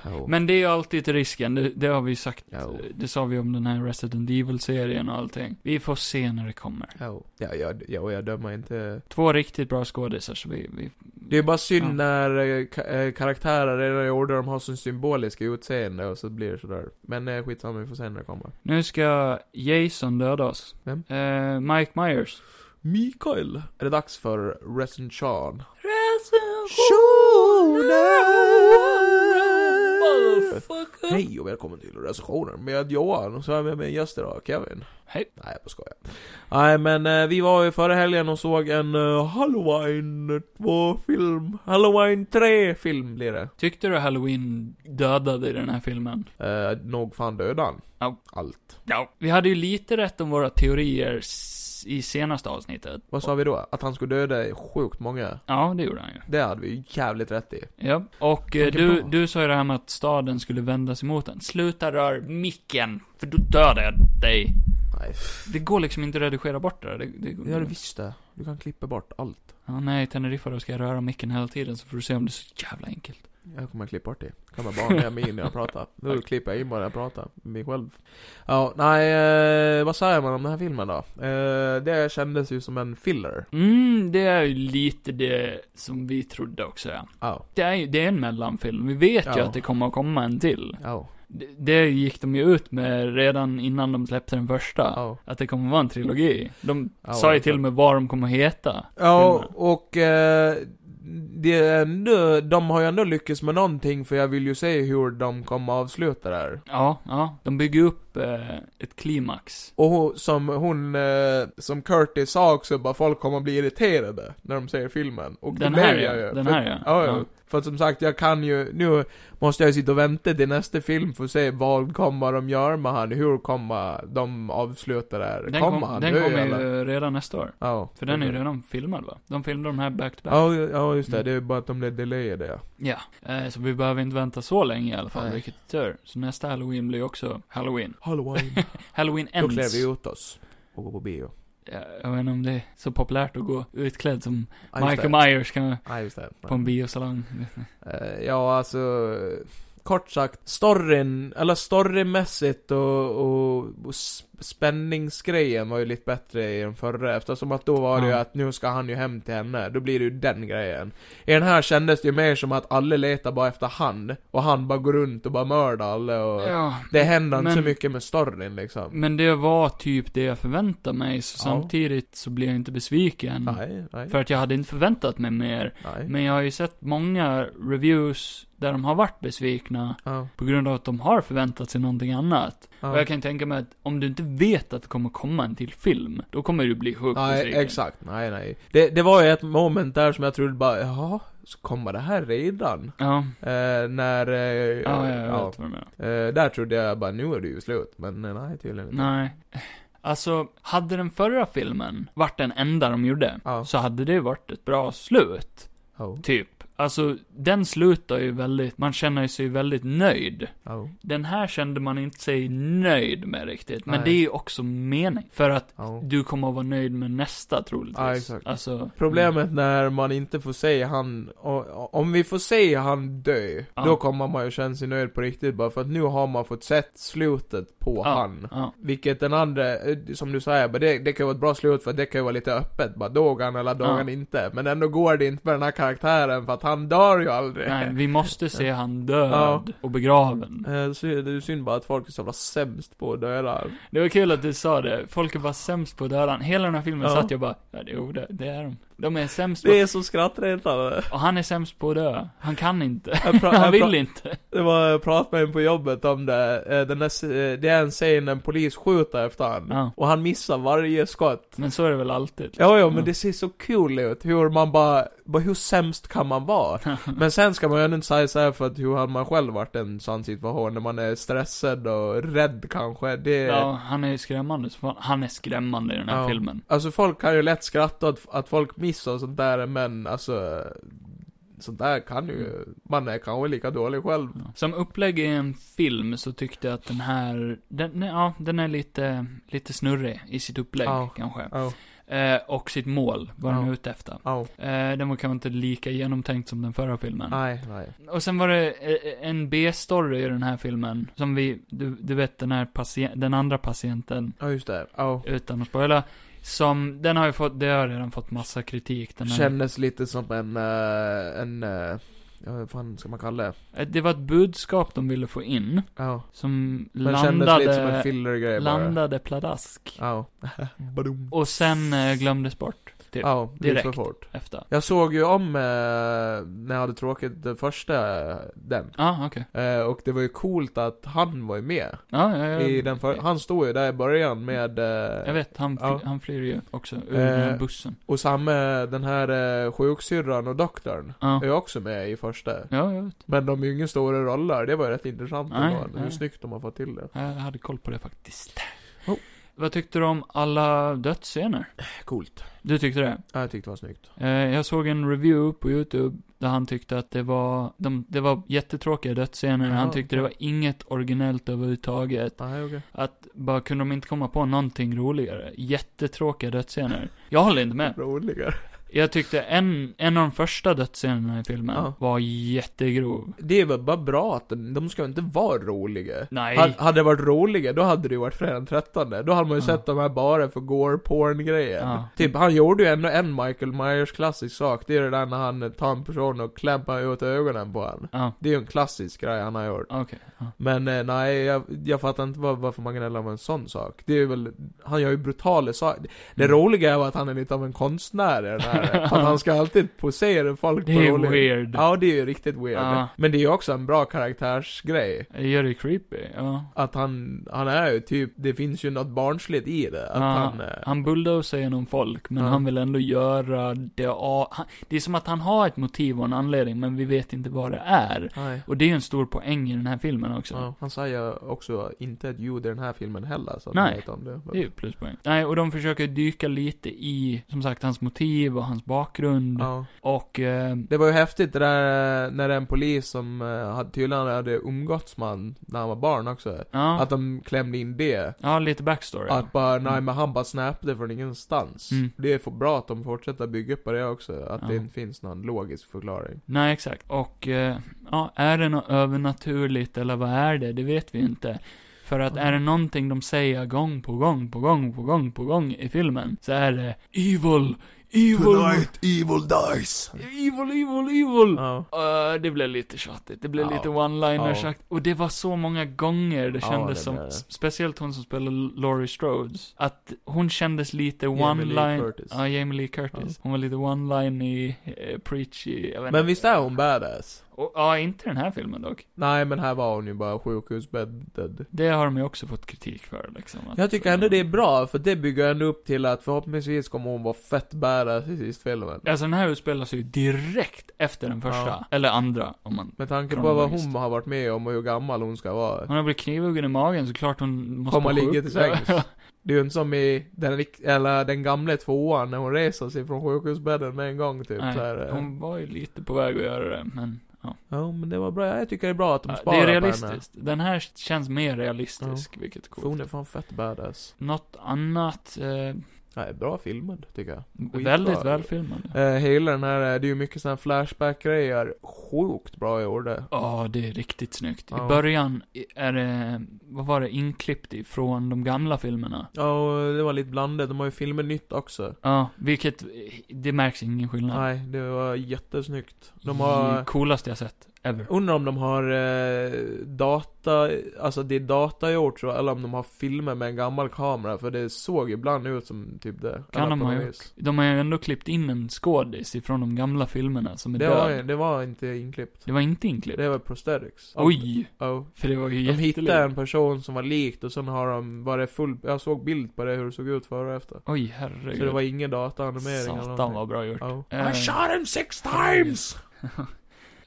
Oh. Men det är ju alltid risken, det, det har vi sagt. Ja. Det sa vi om den här Resident Evil-serien och allting. Vi får se när det kommer. Ja, ja, jag, ja, och jag dömer inte. Två riktigt bra skådisar, så vi... vi Det är bara synd Ja. när eh, ka- eh, karaktärer redan i order de har sin symboliska utseende och så blir det sådär. Men eh, skitsamma, vi får se när det kommer. Nu ska Jason döda oss. Vem? Eh, Mike Myers. Mikael. Är det dags för Resident Sean? Hej och välkommen till recensionen med Johan och så är vi med gäster idag, Kevin. Hej. Nej, jag bara skojar. Nej, men eh, vi var ju förra helgen och såg en eh, Halloween 2-film. Halloween 3-film blir det. Tyckte du Halloween dödade i den här filmen? Eh, nog fan dödan. Ja. Allt. Ja. Vi hade ju lite rätt om våra teorier s- i senaste avsnittet. Vad sa vi då? Att han skulle döda sjukt många. Ja, det gjorde han ju. Det hade vi ju jävligt rätt i. Ja. Och eh, Vilket du, bra. du sa ju det här med att staden skulle vändas emot den. Sluta rör micken, för då dödar jag dig. Nej. Mm. Det går liksom inte att redigera bort det där. Det, det, Det gör det visst det. Du kan klippa bort allt. Ja, nej, Teneriffa, då ska jag röra micken hela tiden så får du se om det är så jävla enkelt. Jag kommer att klippa bort det. Kan man bara med mig in när jag *laughs* pratar. Då klipper jag in bara när jag pratar. Mig själv. Ja, nej, eh, vad säger man om den här filmen då? Eh, det kändes ju som en filler. Mm, det är ju lite det som vi trodde också, ja. Ja, Det är ju, det är en mellanfilm. Vi vet ju Ja. att det kommer att komma en till. ja, Det, det gick de ju ut med redan innan de släppte den första. ja. Att det kommer vara en trilogi. De Ja, sa ju verkligen. till och med vad de kommer heta. Ja, filmen. och eh, det är ändå, de har ju ändå lyckats med någonting för jag vill ju se hur de kommer avsluta det här. Ja, ja. De bygger upp eh, ett klimax. Och hon- som hon, eh, som Curtis sa också, bara folk kommer bli irriterade när de ser filmen. Och Den det här blev ja, jag ju. den för, här ja. Ja, ja. Ja. För att som sagt, jag kan ju, nu måste jag ju sitta och vänta till nästa film för att se vad kommer de göra med han, hur kommer de avsluta det här? Den, kommer kom, han den dö, kommer eller? ju redan nästa år. Ja. För den är ju Mm. redan filmad va? De filmade de här back to back. Ja, ja just det, det är bara att de blev delayade ja. Ja. Eh, så vi behöver inte vänta så länge i alla fall, Nej. vilket är tur. Så nästa halloween blir också *laughs* halloween. Halloween. Halloween Då ends. klär vi ut oss. Och går på bio. Ja, jag vet inte om det är så populärt att gå utklädd som Ja, just Michael det. Myers kan Ja, just det. på en biosalong. Vet ni. Eh, Ja, alltså... eh, Kort sagt, storyn, eller storymässigt och, och, och s- spänningsgrejen var ju lite bättre i den förra eftersom att då var det ju Ja. att nu ska han ju hem till henne, då blir det ju den grejen. I den här kändes det ju mer som att alla letar bara efter han, och han bara går runt och bara mördar alla och... Ja. Det händer inte så Men- mycket med storyn liksom. Men det var typ det jag förväntade mig, så Ja. samtidigt så blev jag inte besviken. Nej, nej, För att jag hade inte förväntat mig mer. nej. Men jag har ju sett många reviews där de har varit besvikna Ja, på grund av att de har förväntat sig någonting annat. Och ja. jag kan ju tänka mig att om du inte vet att det kommer komma en till film, då kommer du bli sjukt Nej, besviken. exakt. Nej, nej. Det, det var ju ett moment där som jag trodde bara, jaha, så kommer det här redan? Ja, Eh, när... Eh, ja, ja, jag ja. vet vad du menar. Eh, där trodde jag bara, nu är det ju slut. Men eh, nej, tydligen inte. Nej. Alltså, hade den förra filmen varit den enda de gjorde, Ja. så hade det varit ett bra slut. Oh, Typ. Alltså, den slutar ju väldigt, man känner ju sig väldigt nöjd. oh, Den här kände man inte sig nöjd med riktigt, men Nej. det är ju också mening. För att oh. du kommer att vara nöjd med nästa troligtvis. Ja, exakt. Alltså, Problemet när man inte får se han, o- o- om vi får se han dö, Ja. då kommer man ju känna sig nöjd på riktigt bara för att nu har man fått sett slutet på Ja. han. Ja. Vilket den andra, eh, som du säger, bara det, det kan ju vara ett bra slut för det kan ju vara lite öppet. Bara dog han eller dog Ja. han inte? Men ändå går det inte med den här karaktären för att han dör ju aldrig. Nej, vi måste se han död Ja. och begraven. Eh, så Det är ju synd bara att folk är så jävla sämst på att döda. Det var kul att du sa det. Folk är bara sämst på att döda. Hela den här filmen Ja. satt jag bara, ja, det- jo, det, det är de. De är sämst på Det är så *laughs* skrattretande. Och han är sämst på att dö. Han kan inte. Jag pra- Han jag pra- vill inte. Det var, jag pratade med en på jobbet om det, Eh, den där, se- eh, det är en scen när en polis skjuter efter han. Ja. Och han missar varje skott. Men så är det väl alltid. Ja, ja, men Ja. det ser så kul ut hur man bara, bara, hur sämst kan man vara? *laughs* Men sen ska man ju ändå inte säga så här för att hur har man själv varit i en sån situation när man är stressad och rädd kanske? Det, Ja, han är ju skrämmande som fan. Han är skrämmande i den här Ja. filmen. Alltså folk kan ju lätt skratta att, att folk missar och sånt där, men alltså, sånt där kan ju, Mm. man är kanske lika dålig själv. Ja. Som upplägg i en film så tyckte jag att den här, den, ja, den är lite, lite snurrig i sitt upplägg Ja. kanske. Ja. Eh, och sitt mål, vad den Ja. är ute efter. Oh. Eh, den var kanske inte lika genomtänkt som den förra filmen. Nej, nej. Och sen var det eh, en B-story i den här filmen, som vi, du, du vet den här patient, den andra patienten, Ja, just det. Oh. utan att spoila, som, den har ju fått, det har redan fått massa kritik, den här. Kändes lite som en, eh, en, eh, ja, vad fan ska man kalla det? Eh, Det var ett budskap de ville få in, Ja. som Den kändes lite som en landade, filler-grej bara. landade pladask. Ja. *laughs* Badum. Och sen eh, glömdes bort, typ, Ja, direkt. för direkt. fort. efter. Jag såg ju om, eh, när jag hade tråkigt, den första, eh, den. Ja, ah, okej. Eh, och det var ju coolt att han var ju med. Ja, ja, ja. I den för- han stod ju där i början med... Jag Eh, vet, han, fly- Ja. han flyr ju också ur den här Eh, bussen. och samma, den här eh, sjuksyrran och doktorn. Ja. Är ju också med i första. Ja, jag vet. Men de är ju inga stora roller, det var ju rätt intressant Nej, ändå, hur nej. snyggt de har fått till det. Jag hade koll på det faktiskt. Oh. Vad tyckte du om alla dödsscener? Coolt. Du tyckte det? Ja, jag tyckte det var snyggt. Eh, jag såg en review på YouTube där han tyckte att det var, de, det var jättetråkiga dödsscener. Han Ja. tyckte det var inget originellt överhuvudtaget. Nej, okej. Att bara kunde de inte komma på någonting roligare. Jättetråkiga dödsscener. Jag håller inte med. *laughs* Roligare. Jag tyckte en, en av de första dödsscenerna i filmen Ja. var jättegrov. Det är väl bara bra att de, de ska inte vara roliga. Nej. Hade, hade det varit roliga, då hade det ju varit fredag den 13. Då hade man ju Ja. sett de här bara för gore-porn-grejen. Ja. Typ, han gjorde ju ändå en Michael Myers klassisk sak. Det är det där när han tar en person och klampar ut ögonen på honom. Ja, Det är ju en klassisk grej han har gjort. okej. Ja. Men eh, nej, jag, jag fattar inte var, varför man gnäller om en sån sak. Det är väl, han gör ju brutala saker. Det Mm. roliga är att han är lite av en konstnär i den här. *laughs* för att han ska alltid posera folk Det på är roliga- weird. Ja, det är ju riktigt weird. Ja. Men det är ju också en bra karaktärsgrej. Det gör det creepy, ja. Att han, han är ju typ, det finns ju något barnsligt i det. Att Ja, han... eh, han bulldozar genom folk, men Ja. han vill ändå göra det av, han, Det är som att han har ett motiv och en anledning, men vi vet inte vad det är. nej. Och det är ju en stor poäng i den här filmen också. Ja, han säger också inte ett ljud i den här filmen heller, så att Nej. man vet om det. Det är ju pluspoäng. Nej, och de försöker dyka lite i, som sagt, hans motiv och hans bakgrund. Ja. Och, eh, Det var ju häftigt det där eh, när en polis som eh, hade, tydligen hade umgåtts med han när han var barn också. ja. Att de klämde in det. ja, lite backstory. Att bara, nej Mm. men han bara snappade från ingenstans. Mm. Det är för bra att de fortsätter bygga på det också. Att det Ja. inte finns någon logisk förklaring. Nej, exakt. Och, eh, ja, är det något övernaturligt eller vad är det? Det vet vi inte. För att är det någonting de säger gång på gång på gång på gång på gång i filmen, så är det Evil, Evil, evil dies. Evil, Evil, Evil. Ja. Eh, det blev lite tjatigt, det blev Ja. lite one-liners Ja. sagt. Och det var så många gånger det Ja, kändes det som, blev det. s- speciellt hon som spelar Laurie Strodes, att hon kändes lite Jamie Lee one-line... Curtis. Ja, Jamie Lee Curtis. Hon var lite one-line-y, eh, preachy, jag vet Men inte. visst är hon badass? Och, ja, inte den här filmen dock. Nej men här var hon ju bara sjukhusbäddad. Det har de ju också fått kritik för liksom. att- Jag tycker ändå det är bra, för det bygger ändå upp till att förhoppningsvis kommer hon vara fett badass i sist filmen. Alltså den här utspelar sig ju direkt efter den första. Ja. Eller andra, om man... Med tanke på vad Kronologiskt. hon har varit med om och hur gammal hon ska vara. Hon har blivit knivhuggen i magen så klart hon måste Komma på sjuk- ligga till *laughs* sängs. Det är ju inte som i den, rikt- eller den gamla tvåan när hon reser sig från sjukhusbädden med en gång typ. Nej, så här, eh. Hon var ju lite på väg att göra det, men... Ja. Ja men det var bra, jag tycker det är bra att de Ja, sparar det är på henne. realistiskt. Den här känns mer realistisk, vilket är För hon coolt. är fan fett badass. Något annat, eh, Nej, bra filmad tycker jag. Skitbra. väldigt välfilmad. Ja, Eh, hela den här, eh, det är ju mycket sådana flashback-grejer. Sjukt bra gjorda. det är riktigt snyggt. I Ja. början i- är det, vad var det, inklippt ifrån de gamla filmerna. Ja, och det var lite blandat. De har ju filmer nytt också. Ja, vilket, eh, det märks ingen skillnad. Nej, det var jättesnyggt. De har... Det Coolaste jag sett, ever. Undrar om de har eh, data, alltså det är data gjort så, eller om de har filmer med en gammal kamera, för det såg ibland ut som typ det. Kan Eller de på ha något gjort. vis. De har ju ändå klippt in en skådis ifrån de gamla filmerna som är Det död. var, det var inte inklippt. Det var inte inklippt. Det var prosthetics. Oj! Ja. För det var ju De hittade jättelikt. en person som var likt och sen har de, var det full, jag såg bild på det hur det såg ut före och efter. Oj, Så herregud. det var ingen dataanimering eller Satan någonting. Ah, vad bra gjort. Ja. Eh, him six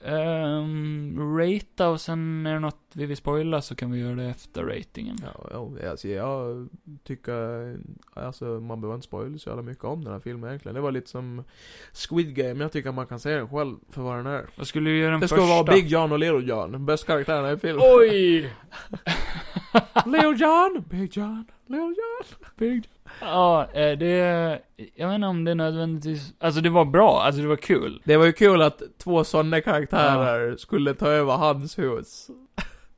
Ehm, rata och sen är det något vi vill spoila så kan vi göra det efter ratingen. Ja, ja, alltså jag tycker, alltså man behöver inte spoila så jävla mycket om den här filmen egentligen. Det var lite som Squid Game, jag tycker man kan se den själv för vad den är. Vad skulle du göra den Det ska första? vara Big John och Little John, de bästa karaktärerna i filmen. *laughs* Oj! Little John, Big John, Little John. Big Ja, eh, det, jag vet inte om det nödvändigtvis, alltså det var bra, alltså det var kul. Det var ju kul att två sådana karaktärer skulle ta över hans hus.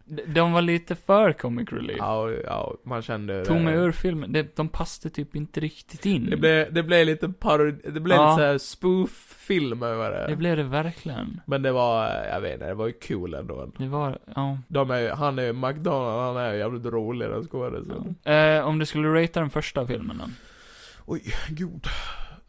De, de var lite för comic relief. Ja, ja, man kände det. Tog mig ur filmen, de, de passade typ inte riktigt in. Det blev, det blev lite parodi, det blev Ja. lite såhär spoof-film över det. det blev det verkligen. Men det var, jag vet inte, det var ju cool ändå. Det var, ja. De är ju, han är ju McDonald, han är ju jävligt rolig den skådisen. ja. Eh, om du skulle ratea den första filmen då? Oj, gud.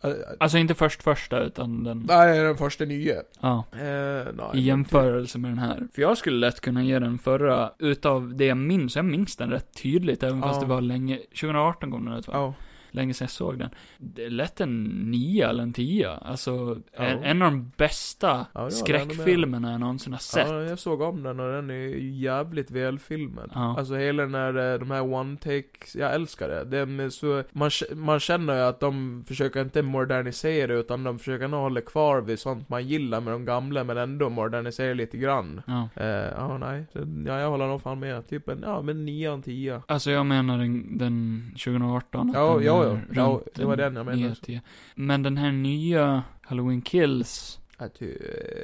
Eh, eh, Alltså inte först första, utan den, Nej, den första nya. ja. Eh, nej, I jämförelse med den här. För jag skulle lätt kunna ge den förra, utav det jag minns, jag minns den rätt tydligt, även fast Ja. det var länge, 2018 kom den ut va? Ja. länge sedan jag såg den. Det är lätt en nia eller en tia. Alltså, Ja. en, en av de bästa Ja, det var det skräckfilmerna jag någonsin har sett. ja, jag såg om den och den är ju jävligt välfilmad. Ja. Alltså hela den här, eh, de här one takes, jag älskar det. det är så, man, k- man känner ju att de försöker inte modernisera utan de försöker nog hålla kvar vid sånt man gillar med de gamla men ändå modernisera lite grann. Ja. Eh, ja, nej. Så, Ja, jag håller nog fan med. Typ en, ja men 9 10 Alltså jag menar den, den 2018. att Ja, den ja, är ja. Ja, runt det var en den jag menade nia, också. tia. Men den här nya Halloween Kills. Att, eh,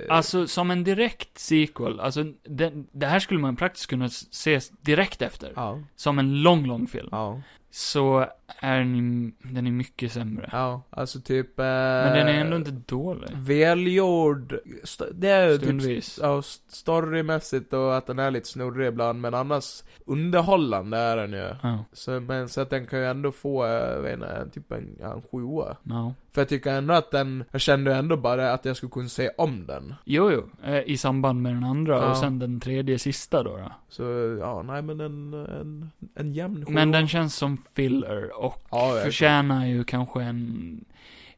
Alltså som en direkt sequel. Alltså den, det här skulle man praktiskt kunna s- se direkt efter. Ja. Som en lång, lång film. Ja. Så är den, den är mycket sämre. Ja. Alltså typ... Men den är ändå inte dålig. Välgjord. St- Eh, det är ju typ... Stundvis. Ja, st- storymässigt och att den är lite snurrig ibland, men annars underhållande är den ju. Ja. Så, men så att den kan ju ändå få, eh, jag vet inte, typ en, ja, en sjua. Ja. För jag tycker ändå att den, jag kände ändå bara att jag skulle kunna se om den. Jo, jo. Eh, I samband med den andra Ja. och sen den tredje sista då. då. Så, ja, nej men en, en, en jämn sjua. Men den känns som filler och Ja, verkligen. förtjänar ju kanske en...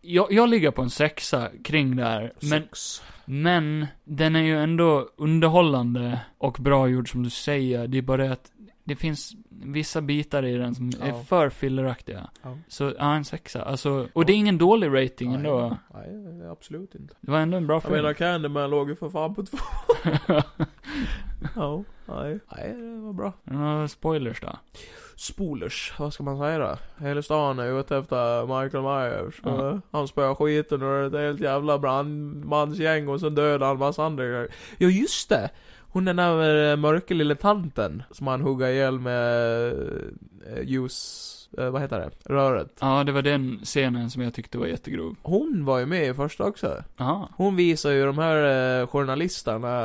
Jag, jag ligger på en sexa kring där, men, Sex. men den är ju ändå underhållande och bra gjord som du säger. Det är bara det att det finns vissa bitar i den som är Ja. för filleraktiga. Ja. Så, ja, en sexa. Alltså, och det är ingen dålig rating Nej. ändå. Nej, absolut inte. Det var ändå en bra Jag film. menar Candyman låg ju för fan på två. Ja, nej. Nej, det var bra. *laughs* Några spoilers då? Spoolers, vad ska man säga då? Hela stan är ute efter Michael Myers. Ja. Eh, Han spöar skiten och det är ett helt jävla brandmansgäng och sen dödar han massa andra grejer. Ja, just det! Hon den där eh, mörka lilla tanten som han hugger ihjäl med eh, ljus... eh, Vad heter det? Röret. Ja, det var den scenen som jag tyckte var jättegrov. Hon var ju med i första också. Jaha, Hon visar ju de här eh, journalisterna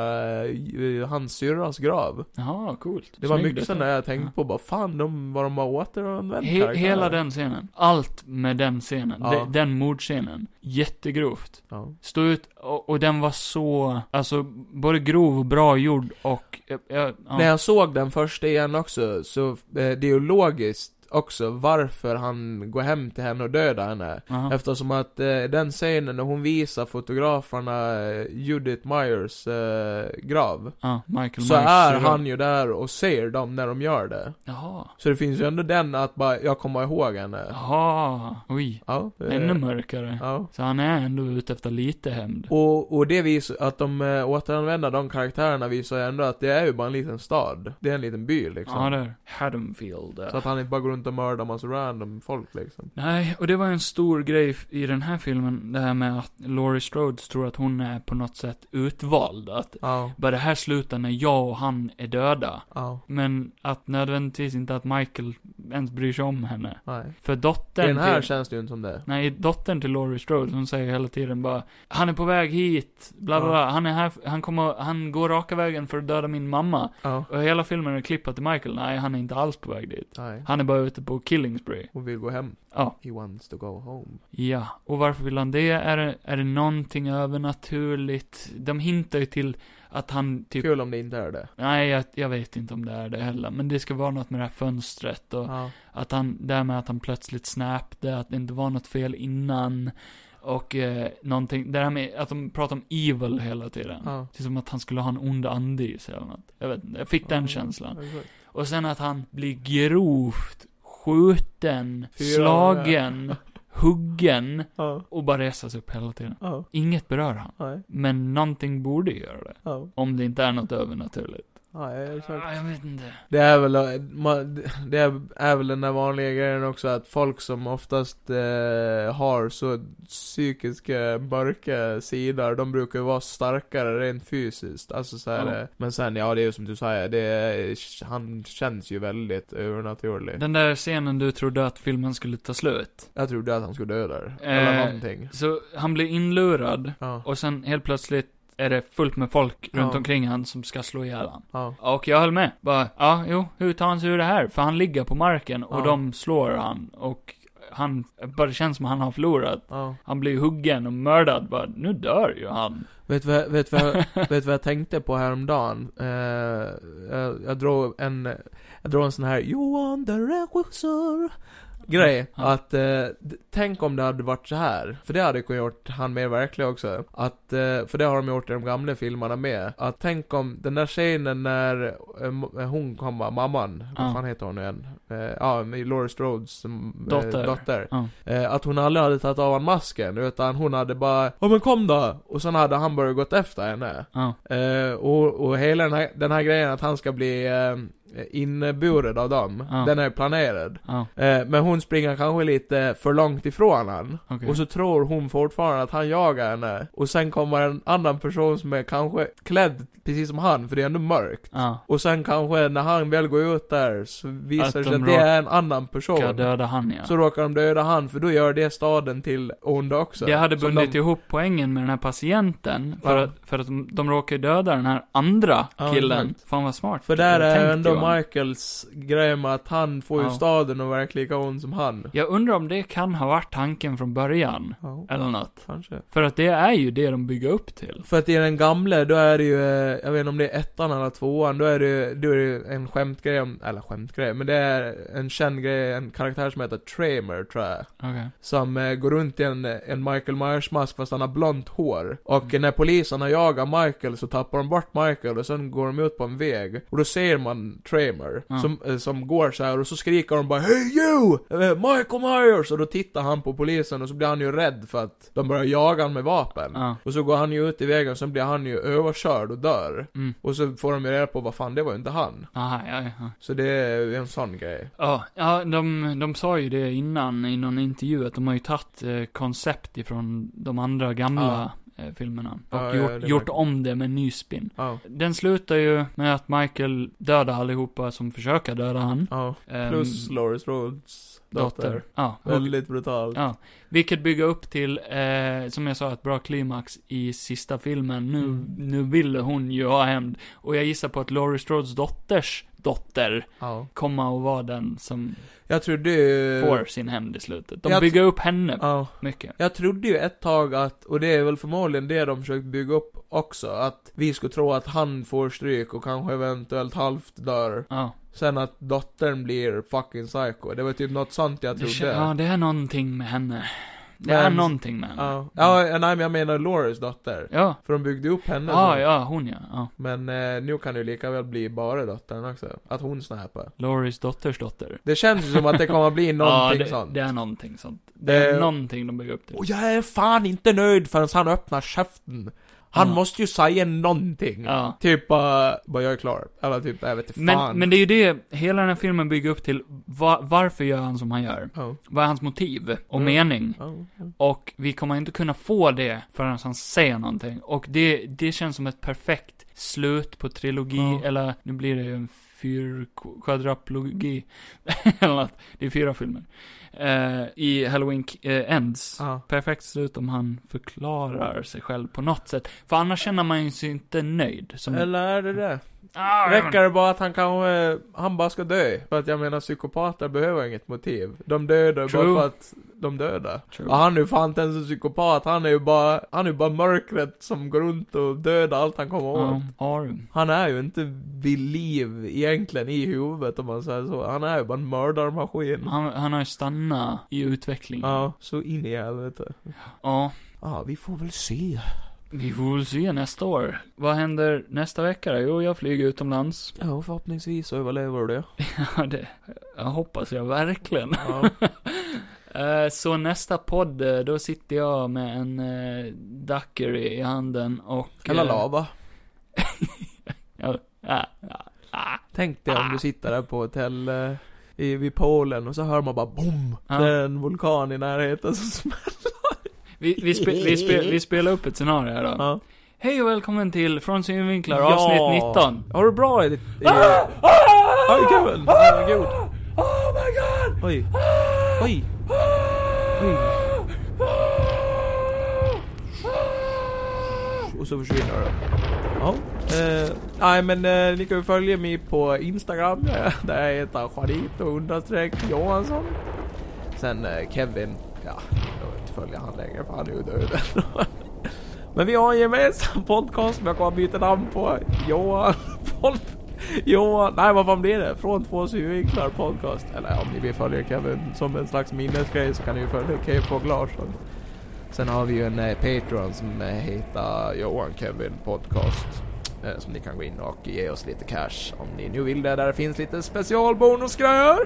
eh, hans syrras grav. jaha, coolt. Det var Snygg mycket sådana detalj. jag tänkte Ja. på bara, fan de, vad de har återanvänt He karaktärer. hela den scenen. Allt med den scenen. Ja. De, den mordscenen. Jättegrovt. Ja. Stå ut, och, och den var så, alltså, både grov och bra gjord och, ja, ja, ja. När jag såg den första igen också, så eh, det är ju logiskt också varför han går hem till henne och dödar henne. Aha. Eftersom att eh, den scenen när hon visar fotograferna eh, Judith Myers eh, grav, Ja, Michael så Myers är syrra. han ju där och ser dem när de gör det. Jaha. Så det finns ju ändå den att bara, jag kommer ihåg henne. Jaha. Oj. Ja. eh, Oh, Ännu mörkare. Ja. Så han är ändå ute efter lite hämnd. Och, och det visar, att de äh, återanvänder de karaktärerna visar ju ändå att det är ju bara en liten stad. Det är en liten by liksom. Ja, där. Haddonfield. Så att han inte bara går runt och mördar massa random folk liksom. Nej, och det var en stor grej f- i den här filmen, det här med att Laurie Strodes tror att hon är på något sätt utvald. Att Ja, bara det här slutar när jag och han är döda. ja, Men att nödvändigtvis inte att Michael ens bryr sig om henne. nej. För I dottern den här till... känns det ju inte som det. Nej, dottern till Laurie Strode, hon säger hela tiden bara Han är på väg hit, bla bla Ja. bla, han är här, f- han kommer, han går raka vägen för att döda min mamma. Ja, Och hela filmen är klippat till Michael, nej han är inte alls på väg dit. nej. Han är bara ute på killing spree. Hon vill gå hem. Ja. He wants to go home. Ja, och varför vill han det? Är det, är det någonting övernaturligt? De hintar ju till att han typ... Kul om det inte är det. Nej, jag, jag vet inte om det är det heller, men det ska vara något med det här fönstret och Ja, att han, det här med att han plötsligt snäpte, att det inte var något fel innan och eh, någonting, det här med att de pratar om evil hela tiden. ja. Det är som att han skulle ha en ond ande i sig eller något. Jag vet inte, jag fick den Ja, känslan. exakt. Och sen att han blir grovt skjuten, Fyra slagen, huggen Ja, och bara resa sig upp hela tiden. ja, Inget berör han. nej, Men någonting borde göra det. ja, Om det inte är något övernaturligt. Ja, exakt. Ah, jag vet inte. Det är väl, ma- det är- är väl den där vanliga grejen också att folk som oftast eh, har så psykiska mörka sidor, de brukar ju vara starkare rent fysiskt. Alltså så här, Ja. eh, men sen ja, det är ju som du säger, det är, han känns ju väldigt övernaturlig. Den där scenen du trodde att filmen skulle ta slut. Jag trodde att han skulle dö där, Eh. eller någonting. Så han blir inlurad Ja, och sen helt plötsligt är det fullt med folk runt Ja. omkring han som ska slå ihjäl han. ja. Och jag höll med. Bara, ja, jo, hur tar han sig ur det här? För han ligger på marken och Ja. de slår han och han, bara det känns som han har förlorat. Ja. Han blir huggen och mördad. Bara, nu dör ju han. Vet du vad, vet du *laughs* vad, vet du vad jag tänkte på häromdagen? Eh, jag, jag drog en, jag drog en sån här Johan den regissör grej. Ja. Att, eh, d- tänk om det hade varit så här. För det hade kunnat gjort han mer verklig också. Att, eh, för det har de gjort i de gamla filmerna med. Att tänk om den där scenen när eh, m- hon kommer, mamman, Ja. vad fan heter hon nu igen? Eh, Ja, med Laurie Strodes mm, eh, Dotter. dotter. Ja. Eh, att hon aldrig hade tagit av honom masken, utan hon hade bara Ja men kom då! Och sen hade han börjat gått efter henne. Ja. Eh, och, och hela den här, den här grejen att han ska bli eh, inburen av dem, Ja. den är planerad. Ja. Eh, men hon springer kanske lite för långt ifrån han. Okej. Och så tror hon fortfarande att han jagar henne. Och sen kommer en annan person som är kanske klädd precis som han, för det är ändå mörkt. Ja. Och sen kanske när han väl går ut där så Att visar det sig de att det är en annan person. Ska döda han ja. Så råkar de döda han, för då gör det staden till ond också. Det hade Som bundit de, ihop poängen med den här patienten, för Ja. att, för att de, de råkar ju döda den här andra Ja, killen. exakt. Fan vad smart. För där tänkt, är ändå Johan. Michaels grej med att han får ju Ja. staden att verka lika ond som han. Jag undrar om det kan ha varit tanken från början, Ja, eller något. kanske. För att det är ju det de bygger upp till. För att i den gamle, då är det ju, eh, jag vet inte om det är ettan eller tvåan, då är det ju, då är det ju en skämtgrej om, eller skämtgrej, men det är en känd grej, en karaktär som heter Tramer tror jag. Okej. Som eh, går runt i en, en Michael Myers-mask fast han har blont hår. Och Mm. när poliserna jagar Michael så tappar de bort Michael och sen går de ut på en väg. Och då ser man Tramer Ja. som, eh, som går så här och så skriker de bara Hey you! Eh, Michael Myers! Och då tittar han på polisen och så blir han ju rädd för att de börjar jaga honom med vapen. Ja. Och så går han ju ut i vägen och sen blir han ju överkörd och dör. Mm. Och så får de ju reda på vad fan det var ju inte han. Aha, ja, ja, ja. Så det är ju en sån grej. Ja, ja de, de sa ju det innan i någon intervju att de har ju tagit eh, koncept ifrån de andra gamla eh, filmerna. Och Ja, ja, gjort, det märker gjort man. om det med en ny spin. Ja. Den slutar ju med att Michael dödar allihopa som försöker döda han. Ja. Ehm, Plus Laurie Strolls dotter. dotter. Ja, och- Väldigt brutalt. ja. Vilket bygger upp till, eh, som jag sa, ett bra klimax i sista filmen. Nu, Mm. nu ville hon ju ha hämnd. Och jag gissar på att Laurie Strodes dotters dotter Ja. komma och vara den som Jag trodde ju... får sin hämnd i slutet. De Eh, jag bygger upp henne Ja. mycket. Jag trodde ju ett tag att, och det är väl förmodligen det de försökt bygga upp också, att vi skulle tro att han får stryk och kanske eventuellt halvt dör. Ja. Sen att dottern blir fucking psycho. Det var typ något sånt jag Det, trodde. kä- ja, det är någonting med henne. Det Men- är någonting med henne. ja. ja, nej men jag menar Lauries dotter. Ja. För de byggde upp henne. Ja, då. ja, hon ja. ja. Men eh, nu kan det ju lika väl bli bara dottern också. Att hon snappar. Loris dotters dotter. Det känns ju som att det kommer bli någonting *laughs* ja, det, sånt. det är någonting sånt. Det är Eh, någonting de bygger upp till. Och jag är fan inte nöjd förrän han öppnar käften. Han Ja. måste ju säga någonting. Ja. Typ bara, bara jag är klar. Eller typ, jag vet inte fan. Men, men det är ju det hela den här filmen bygger upp till. Va, varför gör han som han gör? Ja, Vad är hans motiv och Mm. mening? ja, ja. Och vi kommer inte kunna få det förrän han säger någonting. Och det, det känns som ett perfekt slut på trilogi, Ja. eller nu blir det ju en fyrkvadraplogi. *laughs* eller något. Det är fyra filmer. Eh, I Halloween eh, Ends. Ja. Perfekt slut om han förklarar sig själv på något sätt. För annars känner man sig inte nöjd. Som, Eller är det det? ah, Räcker det bara att han kanske, han bara ska dö? För att jag menar, psykopater behöver inget motiv. De dödar True. bara för att de dödar. True. Och han är ju fan inte ens en psykopat, han är ju bara, han är ju bara mörkret som går runt och dödar allt han kommer åt. Ja, har du. Han är ju inte vid liv egentligen i huvudet om man säger så. Han är ju bara en mördarmaskin. Han, han har ju stannat i utveckling. Ja. Ja, så in i helvete. Ja, vi får väl se. Vi får väl se nästa år. Vad händer nästa vecka då? Jo, jag flyger utomlands. *laughs* Ja, förhoppningsvis överlever du det. Ja, det jag hoppas jag verkligen. Ja. *laughs* Eh, Så nästa podd, eh, då sitter jag med en eh, daiquiri i handen och... Eller eh, lava. Ja, Ja, ja, ja. Tänk dig om du sitter där på hotell eh, i, vid poolen och så hör man bara BOOM! Ja. Det är en vulkan i närheten som smäller. Vi, vi, spe, vi, spe, vi spelar upp ett scenario här då. Ja. Hej och välkommen till Från synvinklar Ja. avsnitt 19. Har du bra i ditt... i- Ah! Oj, Kevin! Herregud. Ah! Oh my god! Ah! Oj. Oj. Oj. Och så försvinner det. Ja. Eh, nej men eh, ni kan ju följa mig på Instagram. *laughs* eh, Där jag heter Juanito understreck Johansson. Sen eh, Kevin. Ja, jag vill inte följa han längre för han är ju död. *laughs* men vi har en gemensam podcast som jag kommer att byta namn på. Johan. Pod, Johan. Nej vad fan blir det? Från två synvinklar podcast. Eller om ni vill följa Kevin som en slags minnesgrej så kan ni ju följa Kevin och Larsson. Sen har vi ju en eh, Patreon som eh, heter Johan Kevin Podcast. eh, Som ni kan gå in och ge oss lite cash om ni nu vill det. Där det finns lite specialbonusgrejer.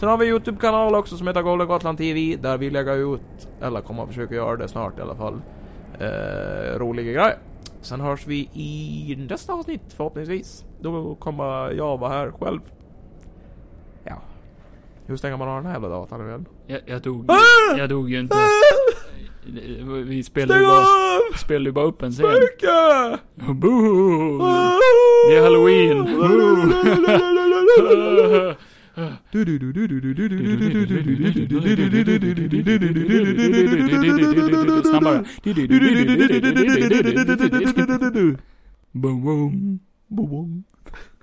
Sen har vi Youtube-kanal också som heter Golden Gotland TV. Där vi lägger ut, eller kommer att försöka göra det snart i alla fall, eh, roliga grejer. Sen hörs vi i nästa avsnitt förhoppningsvis. Då kommer jag vara här själv. Ja. Hur stänger man av den här jävla datorn igen? Jag, jag dog Jag dog ju inte. Vi spelade ju Ah! Stäng bara, av! spelade ju bara upp en scen. Spöke! Boo! Det är halloween! Boo! Snabbare. Boom, boom. Snabbare.